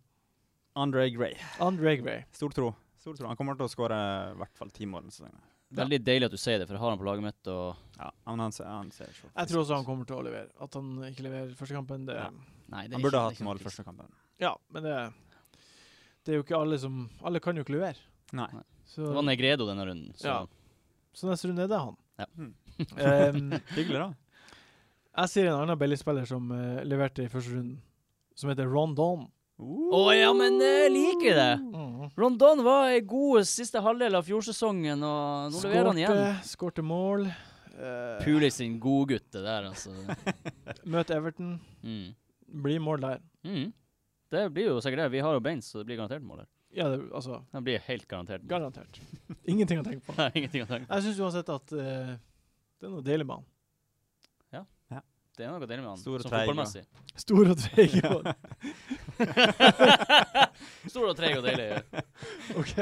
Speaker 4: Andre Gray.
Speaker 1: Andre Gray.
Speaker 4: Stor tro. Stor tro. Han kommer til å skåre eh, i hvert fall ti mål. denne sesongen.
Speaker 2: Veldig deilig at du sier det, for jeg har han på laget mitt, og
Speaker 4: Ja, men han, ser- han ser så
Speaker 1: Jeg tror også han kommer til å levere. At han ikke leverer første kampen, det
Speaker 4: Ja.
Speaker 2: Nei, det er
Speaker 4: Han
Speaker 2: ikke-
Speaker 4: burde ha
Speaker 2: det
Speaker 4: hatt
Speaker 2: er ikke
Speaker 4: mål
Speaker 2: noe
Speaker 4: første kampen.
Speaker 1: Ja, men det Det er jo ikke alle som Alle kan jo ikke levere.
Speaker 4: Nei.
Speaker 1: Så,
Speaker 2: Det var Negredo denne runden. Så.
Speaker 1: Ja. så neste runde er det han.
Speaker 2: Ja.
Speaker 4: Mm.
Speaker 1: Ehm,
Speaker 4: Hyggelig, da.
Speaker 1: jeg sier en annen Belly-spiller som eh, leverte i første runden, som heter Rondon.
Speaker 2: Å ja, men
Speaker 1: eh,
Speaker 2: jeg liker det!
Speaker 1: Mm.
Speaker 2: Rondon var ei god siste halvdel av fjorsesongen, og nå leverer han igjen.
Speaker 1: Skårte, skårte mål. Eh,
Speaker 2: Puli sin godgutt, det der, altså.
Speaker 1: Møte Everton.
Speaker 2: Mm.
Speaker 1: Blir mål der.
Speaker 2: Mm. Det blir jo sikkert det. Vi har jo beins, så det blir garantert mål her.
Speaker 1: Ja, det, altså
Speaker 2: Den blir helt garantert. Nei,
Speaker 1: Garantert. Ingenting å tenke på.
Speaker 2: ingenting å tenke på.
Speaker 1: Jeg syns uansett at eh, det er noe deilig med han.
Speaker 2: Det er noe deilig med han,
Speaker 4: Stor og
Speaker 2: som
Speaker 4: treig, ja.
Speaker 2: fotballmessig.
Speaker 1: Stor og treig. og-
Speaker 2: Stor og treig og deilig. ja.
Speaker 1: OK.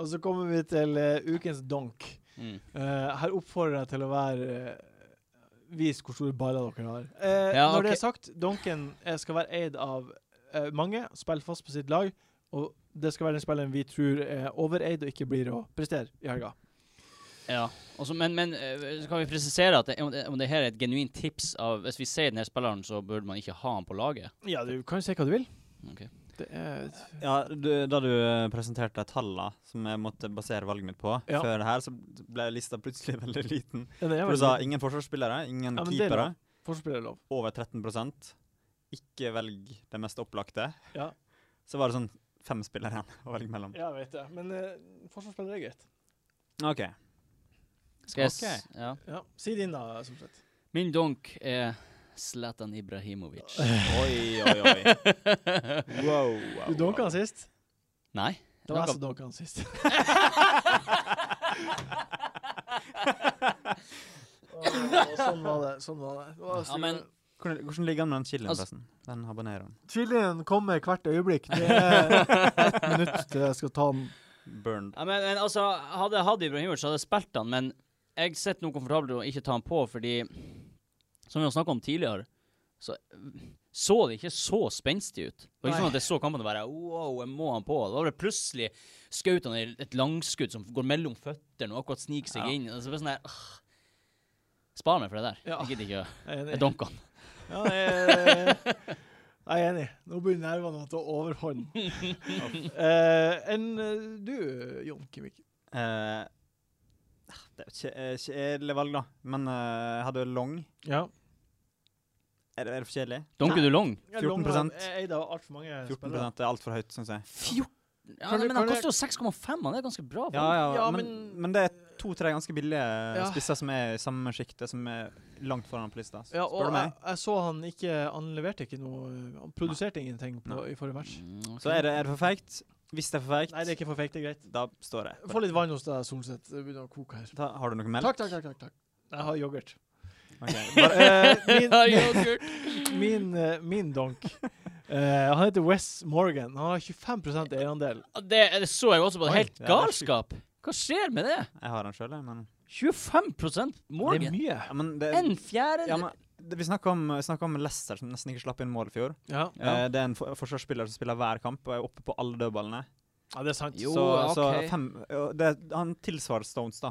Speaker 1: Og så kommer vi til eh, ukens donk.
Speaker 2: Mm.
Speaker 1: Eh, her oppfordrer jeg til å være eh, Vis hvor store baller dere har. Eh,
Speaker 2: Ja,
Speaker 1: Når det
Speaker 2: ok.
Speaker 1: er sagt, donken eh, skal være eid av eh, mange, spille fast på sitt lag, og det skal være den spilleren vi tror er overeid og ikke blir å prestere i helga.
Speaker 2: Ja. Altså, men men eh, så kan vi presisere at det, om, det, om det her er et genuint tips av Hvis vi sier denne spilleren, så burde man ikke ha han på laget.
Speaker 1: Ja, du kan jo si hva du vil.
Speaker 2: Ok.
Speaker 1: Det er
Speaker 4: Ja, du, da du eh, presenterte de tallene som jeg måtte basere valget mitt på
Speaker 1: Ja.
Speaker 4: før det her, så ble lista plutselig veldig liten.
Speaker 1: Den er
Speaker 4: For
Speaker 1: vel
Speaker 4: du sa ingen forsvarsspillere, ingen
Speaker 1: Ja, men det er
Speaker 4: keepere.
Speaker 1: lov. forspillerlov.
Speaker 4: Over 13 Ikke velg det mest opplagte.
Speaker 1: Ja.
Speaker 4: Så var det sånn fem spillere igjen å velge mellom.
Speaker 1: Ja, jeg vet det. Men uh, forsvarsspiller er greit.
Speaker 4: OK.
Speaker 2: Skal jeg s- ja.
Speaker 1: Ja. Si din, da, som sagt.
Speaker 2: Min donk er Zlatan Ibrahimovic.
Speaker 4: Oi, oi, oi. Wow, wow,
Speaker 1: Du donka
Speaker 4: wow.
Speaker 1: han sist?
Speaker 2: Nei.
Speaker 1: Det var
Speaker 2: Donka-
Speaker 1: jeg som donka han sist. Å, sånn var det. Sånn var det. det var
Speaker 2: Ja, men
Speaker 4: Hvordan, hvordan ligger han med den chilien,
Speaker 2: Altså-
Speaker 4: forresten? Den habaneroen.
Speaker 1: Chilien kommer hvert øyeblikk. Det er ett minutt til jeg skal ta den.
Speaker 4: Burned.
Speaker 2: Ja, men, men altså, hadde jeg hatt Ibrahimovic, så hadde jeg spilt han, men jeg sitter nå komfortabelt og ikke tar han på, fordi Som vi har snakka om tidligere, så så det ikke så spenstig ut. Det var ikke
Speaker 1: Nei.
Speaker 2: sånn at jeg så kampen og bare Wow, jeg må han på. Da var det plutselig skjøt han i et langskudd som går mellom føttene og akkurat sniker seg
Speaker 4: Ja.
Speaker 2: inn. Altså, det var sånn der, åh. Spar meg for det der.
Speaker 1: Ja.
Speaker 2: Jeg gidder ikke. å-
Speaker 1: Jeg er
Speaker 2: Jeg
Speaker 1: enig.
Speaker 2: dunker han.
Speaker 1: Ja, jeg, eh, jeg er enig. Nå begynner nervene å ta overhånd. Eh, Enn eh, du, Jon Kimik.
Speaker 4: Eh, det er jo kje- eh, kjedelig valg, da. Men eh, jeg hadde jo long.
Speaker 1: Ja.
Speaker 4: Er det, er det for kjedelig?
Speaker 2: Dunker du long?
Speaker 4: 14%.
Speaker 1: Jeg er eid av altfor mange
Speaker 4: 14
Speaker 1: spillere.
Speaker 4: er altfor høyt, syns jeg.
Speaker 2: 14 ja,
Speaker 1: Kan du-
Speaker 2: nei, Men han
Speaker 1: kan du-
Speaker 2: koster jo 6,5, han er ganske bra. for
Speaker 4: Ja, ja,
Speaker 1: Ja,
Speaker 4: men,
Speaker 1: men-
Speaker 4: men det er to-tre ganske billige
Speaker 1: Ja.
Speaker 4: spisser som er i samme sjiktet, som er langt foran på lista.
Speaker 1: Ja,
Speaker 4: Spør
Speaker 1: og
Speaker 4: du
Speaker 1: jeg,
Speaker 4: meg?
Speaker 1: jeg så han ikke Han leverte ikke noe Han produserte ingenting på, i forrige match.
Speaker 2: Mm,
Speaker 4: Så er det, er det for feigt? Hvis det er for feigt,
Speaker 1: Nei, det er ikke for fake, det er greit.
Speaker 4: da står jeg. for
Speaker 1: Få
Speaker 4: det.
Speaker 1: litt vann hos deg, Solseth. Det begynner å koke her.
Speaker 4: Ta, har du noe melk?
Speaker 1: Takk, takk, takk. takk, takk. Jeg har yoghurt.
Speaker 4: Ok.
Speaker 1: Bare, eh,
Speaker 2: Ja,
Speaker 1: min,
Speaker 2: yoghurt.
Speaker 1: min, eh, min donk eh, Han heter Wes Morgan. Han har 25 eierandel.
Speaker 2: Ja, Det, det så jeg også på. Det
Speaker 4: Oi,
Speaker 2: er helt
Speaker 4: det er
Speaker 2: galskap. Hva skjer med det?
Speaker 4: Jeg har den sjøl, men,
Speaker 2: 25
Speaker 1: Det er
Speaker 2: Morgan.
Speaker 1: mye.
Speaker 4: ja, men det,
Speaker 2: En fjerde
Speaker 4: ja, men det, Vi snakka om, vi snakket om Leicester, som nesten ikke slapp inn mål i fjor.
Speaker 1: Ja.
Speaker 4: Eh, det er en for forsvarsspiller som spiller hver kamp og er oppe på alle dødballene.
Speaker 1: ja, det er sant.
Speaker 2: Jo,
Speaker 4: så,
Speaker 2: ok.
Speaker 4: så fem, og det, han tilsvarer Stones, da.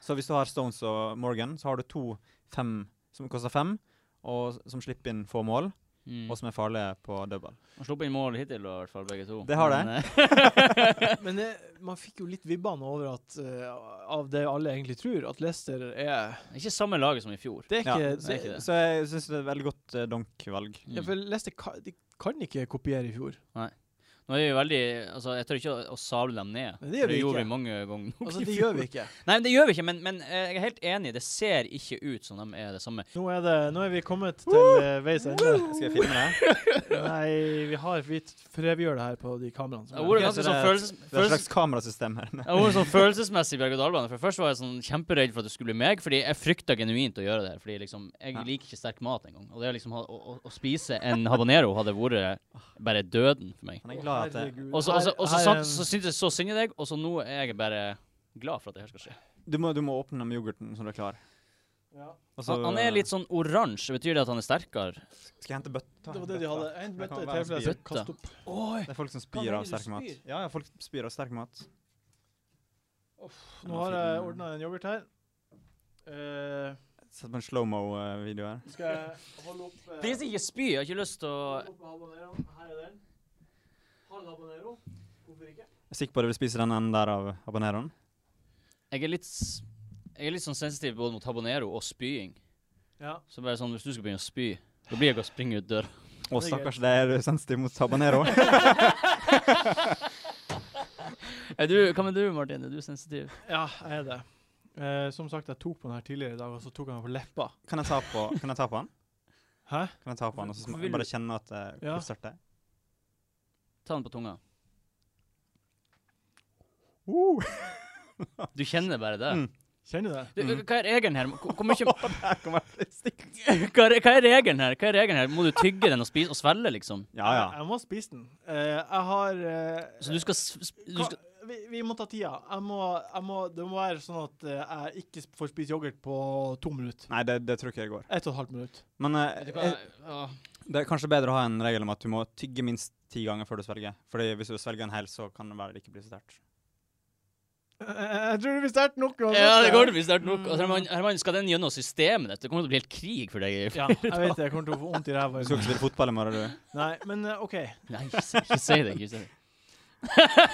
Speaker 4: Så hvis du har Stones og Morgan, så har du to fem som koster fem, og som slipper inn få mål,
Speaker 2: Mm.
Speaker 4: og som er farlige på dødball.
Speaker 2: Har sluppet inn mål hittil, da, i hvert fall, begge to.
Speaker 4: Det har
Speaker 2: Men, eh,
Speaker 1: Men det, man fikk jo litt vibbene over at eh, av det alle egentlig tror, at Leicester er
Speaker 2: ikke samme laget som i fjor.
Speaker 1: Det er
Speaker 4: Ja,
Speaker 1: ikke,
Speaker 2: det er ikke det.
Speaker 4: Så jeg syns det er et veldig godt eh, donk-valg.
Speaker 2: Mm.
Speaker 1: Ja, for Leicester kan, de kan ikke kopiere i fjor.
Speaker 2: Nå er vi veldig Altså, jeg tør ikke å, å sable dem ned.
Speaker 1: Men det gjør vi
Speaker 2: gjorde
Speaker 1: ikke.
Speaker 2: vi mange ganger nok
Speaker 1: Altså,
Speaker 2: i
Speaker 1: det
Speaker 2: fjor.
Speaker 1: gjør vi ikke.
Speaker 2: Nei, men det gjør vi ikke, men, men eh, jeg er helt enig. Det ser ikke ut som de er det samme.
Speaker 1: Nå er, det, nå er vi kommet til eh, veis ende.
Speaker 4: Skal jeg filme det?
Speaker 1: Nei, vi har Vi fredegjør det her på de kameraene. som
Speaker 2: Det har
Speaker 1: er.
Speaker 2: vært
Speaker 4: Ok,
Speaker 2: ganske
Speaker 4: så
Speaker 2: sånn
Speaker 4: det er-
Speaker 2: følelses...
Speaker 4: Det er et
Speaker 2: følelses
Speaker 4: slags kamerasystem her.
Speaker 2: jeg var sånn følelsesmessig berg-og-dal-bane. For Først var jeg sånn kjemperedd for at det skulle bli meg, fordi jeg frykta genuint å gjøre det her. Fordi liksom, jeg
Speaker 4: Ja.
Speaker 2: liker ikke sterk mat engang. Og det å liksom ha, å, å, å spise en habanero hadde vært bare døden for meg.
Speaker 4: Han er glad at det,
Speaker 1: Herregud.
Speaker 2: Og så, og så, og så,
Speaker 1: Her- her er
Speaker 2: sant-
Speaker 1: en-
Speaker 2: så syntes jeg så synd i deg, og så nå er jeg bare glad for at det her skal skje.
Speaker 4: du, må, du må åpne den med yoghurten så du er klar.
Speaker 1: Ja.
Speaker 4: Og så-
Speaker 2: Han, han er litt sånn oransje. Betyr det at han er sterkere?
Speaker 4: Skal jeg hente bøtta?
Speaker 1: Det var det de hadde. En bøtte i
Speaker 4: Det kan være
Speaker 1: tilfelle
Speaker 4: spyr.
Speaker 1: jeg skal kaste opp. Oi!
Speaker 4: Det er folk som
Speaker 1: Hva
Speaker 4: spyr
Speaker 1: mener
Speaker 4: av
Speaker 1: du,
Speaker 4: sterk mat.
Speaker 1: spyr?
Speaker 4: Ja, ja, folk spyr av sterk mat.
Speaker 1: Nå har jeg ordna en yoghurt her. Eh,
Speaker 4: Sett på en slowmo-video her.
Speaker 1: skal jeg holde opp eh,
Speaker 2: Det er ikke spy. Jeg har ikke lyst til å
Speaker 1: holde opp habaneroen? Her er den. Halv habanero. Hvorfor ikke?
Speaker 4: Jeg er sikker på at du vil spise den enden der av habaneroen.
Speaker 2: Jeg er litt s- jeg er litt sånn sensitiv både mot habanero og spying.
Speaker 1: Ja.
Speaker 2: Så bare sånn, hvis du skal begynne å spy, da blir jeg å springe ut døra.
Speaker 4: Å,
Speaker 1: Det er
Speaker 4: stakkars, det er sensitiv mot habanero.
Speaker 2: Er du, hva med du, Martin? Er du sensitiv?
Speaker 1: ja, jeg er det. Eh, som sagt, jeg tok på den her tidligere i dag, og så tok jeg den på leppa.
Speaker 4: kan, jeg ta på, kan jeg ta på den?
Speaker 1: Hæ?
Speaker 4: Kan jeg ta på den, og så
Speaker 2: Hvorfor
Speaker 4: sma-
Speaker 2: vil du-
Speaker 4: bare kjenne at eh,
Speaker 1: Ja.
Speaker 4: hvor sterkt det er?
Speaker 2: Ta den på tunga.
Speaker 4: Uh.
Speaker 2: Du kjenner bare det.
Speaker 4: Mm.
Speaker 1: Kjenner du det?
Speaker 2: Du, hva er regelen her? Hvor, hvor mye
Speaker 4: Her kommer det stikk.
Speaker 2: hva, er, hva er regelen her? Hva er regelen her? Må du tygge den og spise og svelge, liksom?
Speaker 4: Ja, ja.
Speaker 1: Jeg må spise den. Eh, jeg har eh,
Speaker 2: Så du skal, s- s- du
Speaker 1: hva-
Speaker 2: skal
Speaker 1: vi, vi må ta tida. Jeg må, jeg må, det må være sånn at eh, jeg ikke sp- får spise yoghurt på to minutter.
Speaker 4: Nei, det, det tror ikke jeg går.
Speaker 1: Ett og et halvt minutt.
Speaker 4: Men eh, eh,
Speaker 2: Ja.
Speaker 4: det er kanskje bedre å ha en regel om at du må tygge minst ti ganger før du svelger. Fordi hvis du svelger en hel, så kan det være det ikke blir så sterkt.
Speaker 1: Eh, Jeg tror det blir sterkt nok. uansett.
Speaker 2: Ja, det går det visst sterkt nok. Og Herman, Herman, skal den gjennom systemet ditt? Det kommer til å bli helt krig for deg.
Speaker 1: Ja, jeg vet det. Jeg kommer til å få vondt i ræva.
Speaker 4: Du skal ikke spille fotball i morgen, du.
Speaker 1: Nei, men eh, OK.
Speaker 2: Nei, ikke si ikke si det. Ikke si det.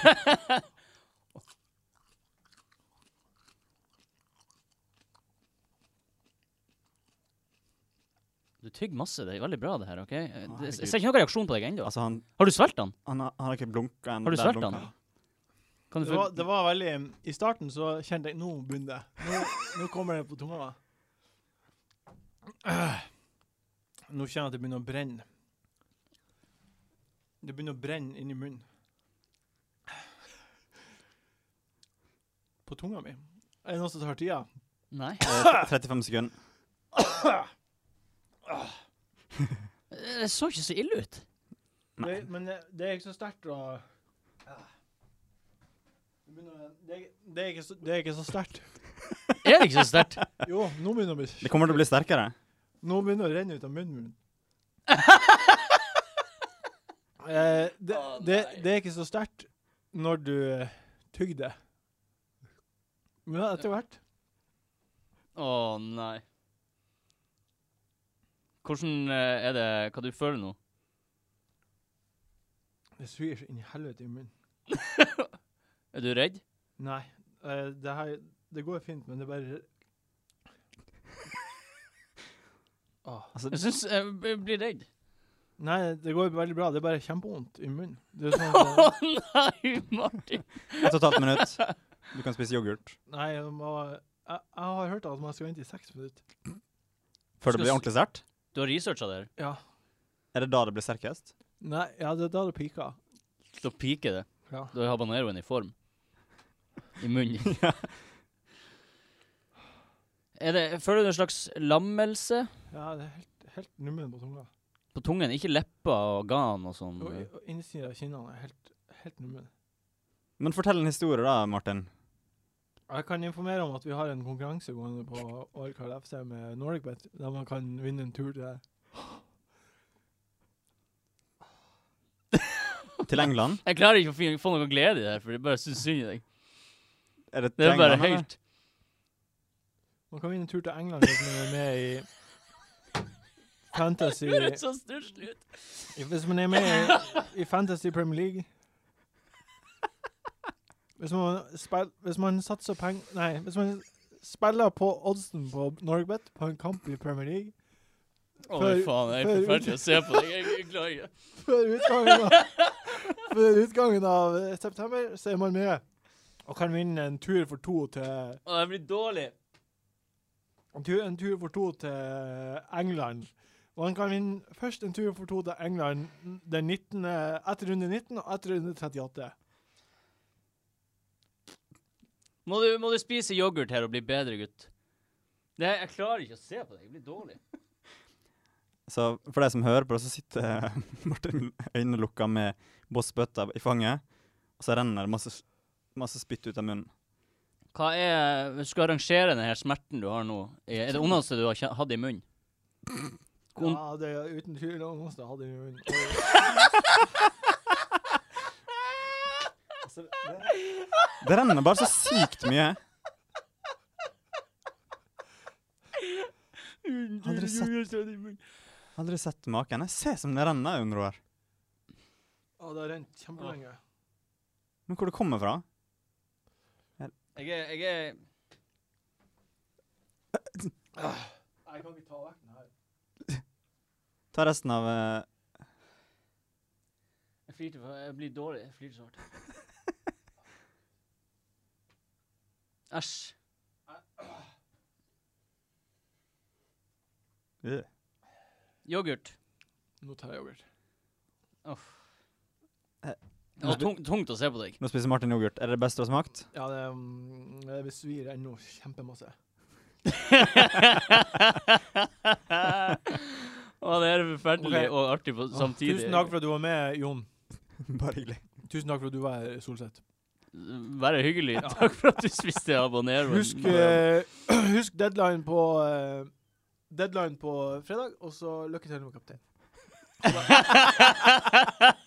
Speaker 2: Du tygger masse. Det er veldig bra, det her. ok? Jeg ser ikke noen reaksjon på deg ennå.
Speaker 4: Altså, han,
Speaker 2: Har du svelget den?
Speaker 4: han, har- han har ikke blunka ennå.
Speaker 2: Har du
Speaker 4: Der
Speaker 2: svelget
Speaker 4: blunker
Speaker 2: den? Kan du
Speaker 1: Det
Speaker 2: få...
Speaker 1: var, det var veldig I starten så kjente jeg Nå begynner det. Nå, nå kommer det på tunga. da. Øh. Nå kjenner jeg at det begynner å brenne. Det begynner å brenne inni munnen. På tunga mi. Er det noen som tar tida?
Speaker 2: Nei.
Speaker 4: Eh, 35 sekunder.
Speaker 2: Eh, Det så ikke så ille ut.
Speaker 1: Det, men det, det er ikke så sterkt å Det begynner å- det, det, er ikke så, det er ikke så sterkt.
Speaker 2: Er det ikke så sterkt?
Speaker 1: Jo, nå begynner det å
Speaker 4: Det
Speaker 1: bli
Speaker 4: kommer til å bli sterkere.
Speaker 1: Nå begynner det å renne ut av munnen min. eh, det,
Speaker 2: Å,
Speaker 1: det,
Speaker 2: nei.
Speaker 1: det er ikke så sterkt når du eh, tygger det. Men ja, etter hvert
Speaker 2: Å nei. Hvordan eh, er det Hva du føler nå?
Speaker 1: Det svir så inn i helvete i munnen.
Speaker 2: Er du redd?
Speaker 1: Nei, eh, det her Det går fint, men det bare Åh.
Speaker 4: Altså,
Speaker 2: Jeg syns jeg b- blir redd.
Speaker 1: Nei, det går veldig bra. Det er bare kjempevondt i munnen. Det er sånn
Speaker 2: Å
Speaker 1: at, eh,
Speaker 2: nei, Martin.
Speaker 4: ett og et halvt minutt. Du kan spise yoghurt.
Speaker 1: Nei, jeg, må, jeg, jeg har hørt at man skal vente i seks minutter.
Speaker 4: Før det blir ordentlig sterkt?
Speaker 2: Du har researcha det her.
Speaker 1: Ja.
Speaker 4: Er det da det blir sterkest?
Speaker 1: Nei, ja, det er da det piker.
Speaker 2: Da piker det.
Speaker 1: Ja.
Speaker 2: Da er habaneroen i form. I munnen. Er det, føler du en slags lammelse
Speaker 1: Ja, det er helt, helt nummen på tunga.
Speaker 2: på tungen? Ikke lepper og gan og sånn?
Speaker 1: Og, og innsiden av kinnene er helt, helt nummen.
Speaker 4: Men fortell en historie, da, Martin.
Speaker 1: Jeg kan informere om at vi har en konkurranse gående på Orkard FC med NordicBet, der man kan vinne en tur til deg.
Speaker 4: Til England?
Speaker 2: Jeg klarer ikke å fi- få noe glede i det her, for jeg bare syns synd i deg.
Speaker 4: Er det,
Speaker 2: Det er
Speaker 4: til
Speaker 2: bare
Speaker 4: England, eller?
Speaker 2: høyt.
Speaker 1: Man kan vinne en tur til England hvis man er med i Fantasy
Speaker 2: Det høres så stusslig ut.
Speaker 1: Hvis man er med i, i Fantasy Premier League. Hvis man, spill, hvis man satser peng... Nei, hvis man spiller på oddsen på NordicBet på en kamp i Premier League
Speaker 2: Å,
Speaker 1: Før-
Speaker 2: fy faen, jeg er
Speaker 1: før ut-
Speaker 2: forferdelig å se på deg. Jeg, jeg klarer ikke.
Speaker 1: Før utgangen av, før utgangen av eh, september så er man med og kan vinne en tur for to til
Speaker 2: Å, jeg blir dårlig.
Speaker 1: en tur, en tur for to til England. Man kan vinne først en tur for to til England den 19., etter runde 19 og etter runde 38.
Speaker 2: Må du, må du spise yoghurt her og bli bedre, gutt? Det, jeg klarer ikke å se på deg. Jeg blir dårlig.
Speaker 4: Så for deg som hører på, så sitter eh, Martin øynene lukka med bossbøtta i fanget, og så renner det masse, s- masse spytt ut av munnen.
Speaker 2: Hva er Hvis du skal arrangere denne her smerten du har nå, er er det ondeste du har kjen- hatt i munnen? Kon-
Speaker 1: Ja, det er uten tvil noen av oss som hadde vunnet.
Speaker 4: Det renner bare så sykt mye. Aldri sett, aldri sett maken. Jeg ser som det renner under her.
Speaker 1: Ja, det har rent kjempelenge.
Speaker 4: Men hvor det kommer fra?
Speaker 2: Jeg er, jeg er
Speaker 1: Jeg kan ikke ta vekk den her.
Speaker 4: Ta resten av eh,
Speaker 2: Jeg flirte for Jeg blir dårlig. Jeg flirte så hardt. Æsj.
Speaker 4: øh.
Speaker 2: Yoghurt.
Speaker 1: Nå tar jeg yoghurt.
Speaker 2: Uff. Det var tung, tungt å se på deg.
Speaker 4: Nå spiser Martin yoghurt. Er det det beste du har smakt?
Speaker 1: Ja, det, mm, det besvir ennå kjempemasse.
Speaker 2: Å, det er forferdelig
Speaker 1: Ok.
Speaker 2: og artig på samtidig.
Speaker 1: Tusen takk for at du var med, Jon.
Speaker 4: Bare hyggelig.
Speaker 1: Tusen takk for at du var her, Solseth.
Speaker 2: Være hyggelig. Takk for at du spiste habanero.
Speaker 1: Husk, eh, husk deadline på eh, Deadline på fredag, og så lykke til med kaptein.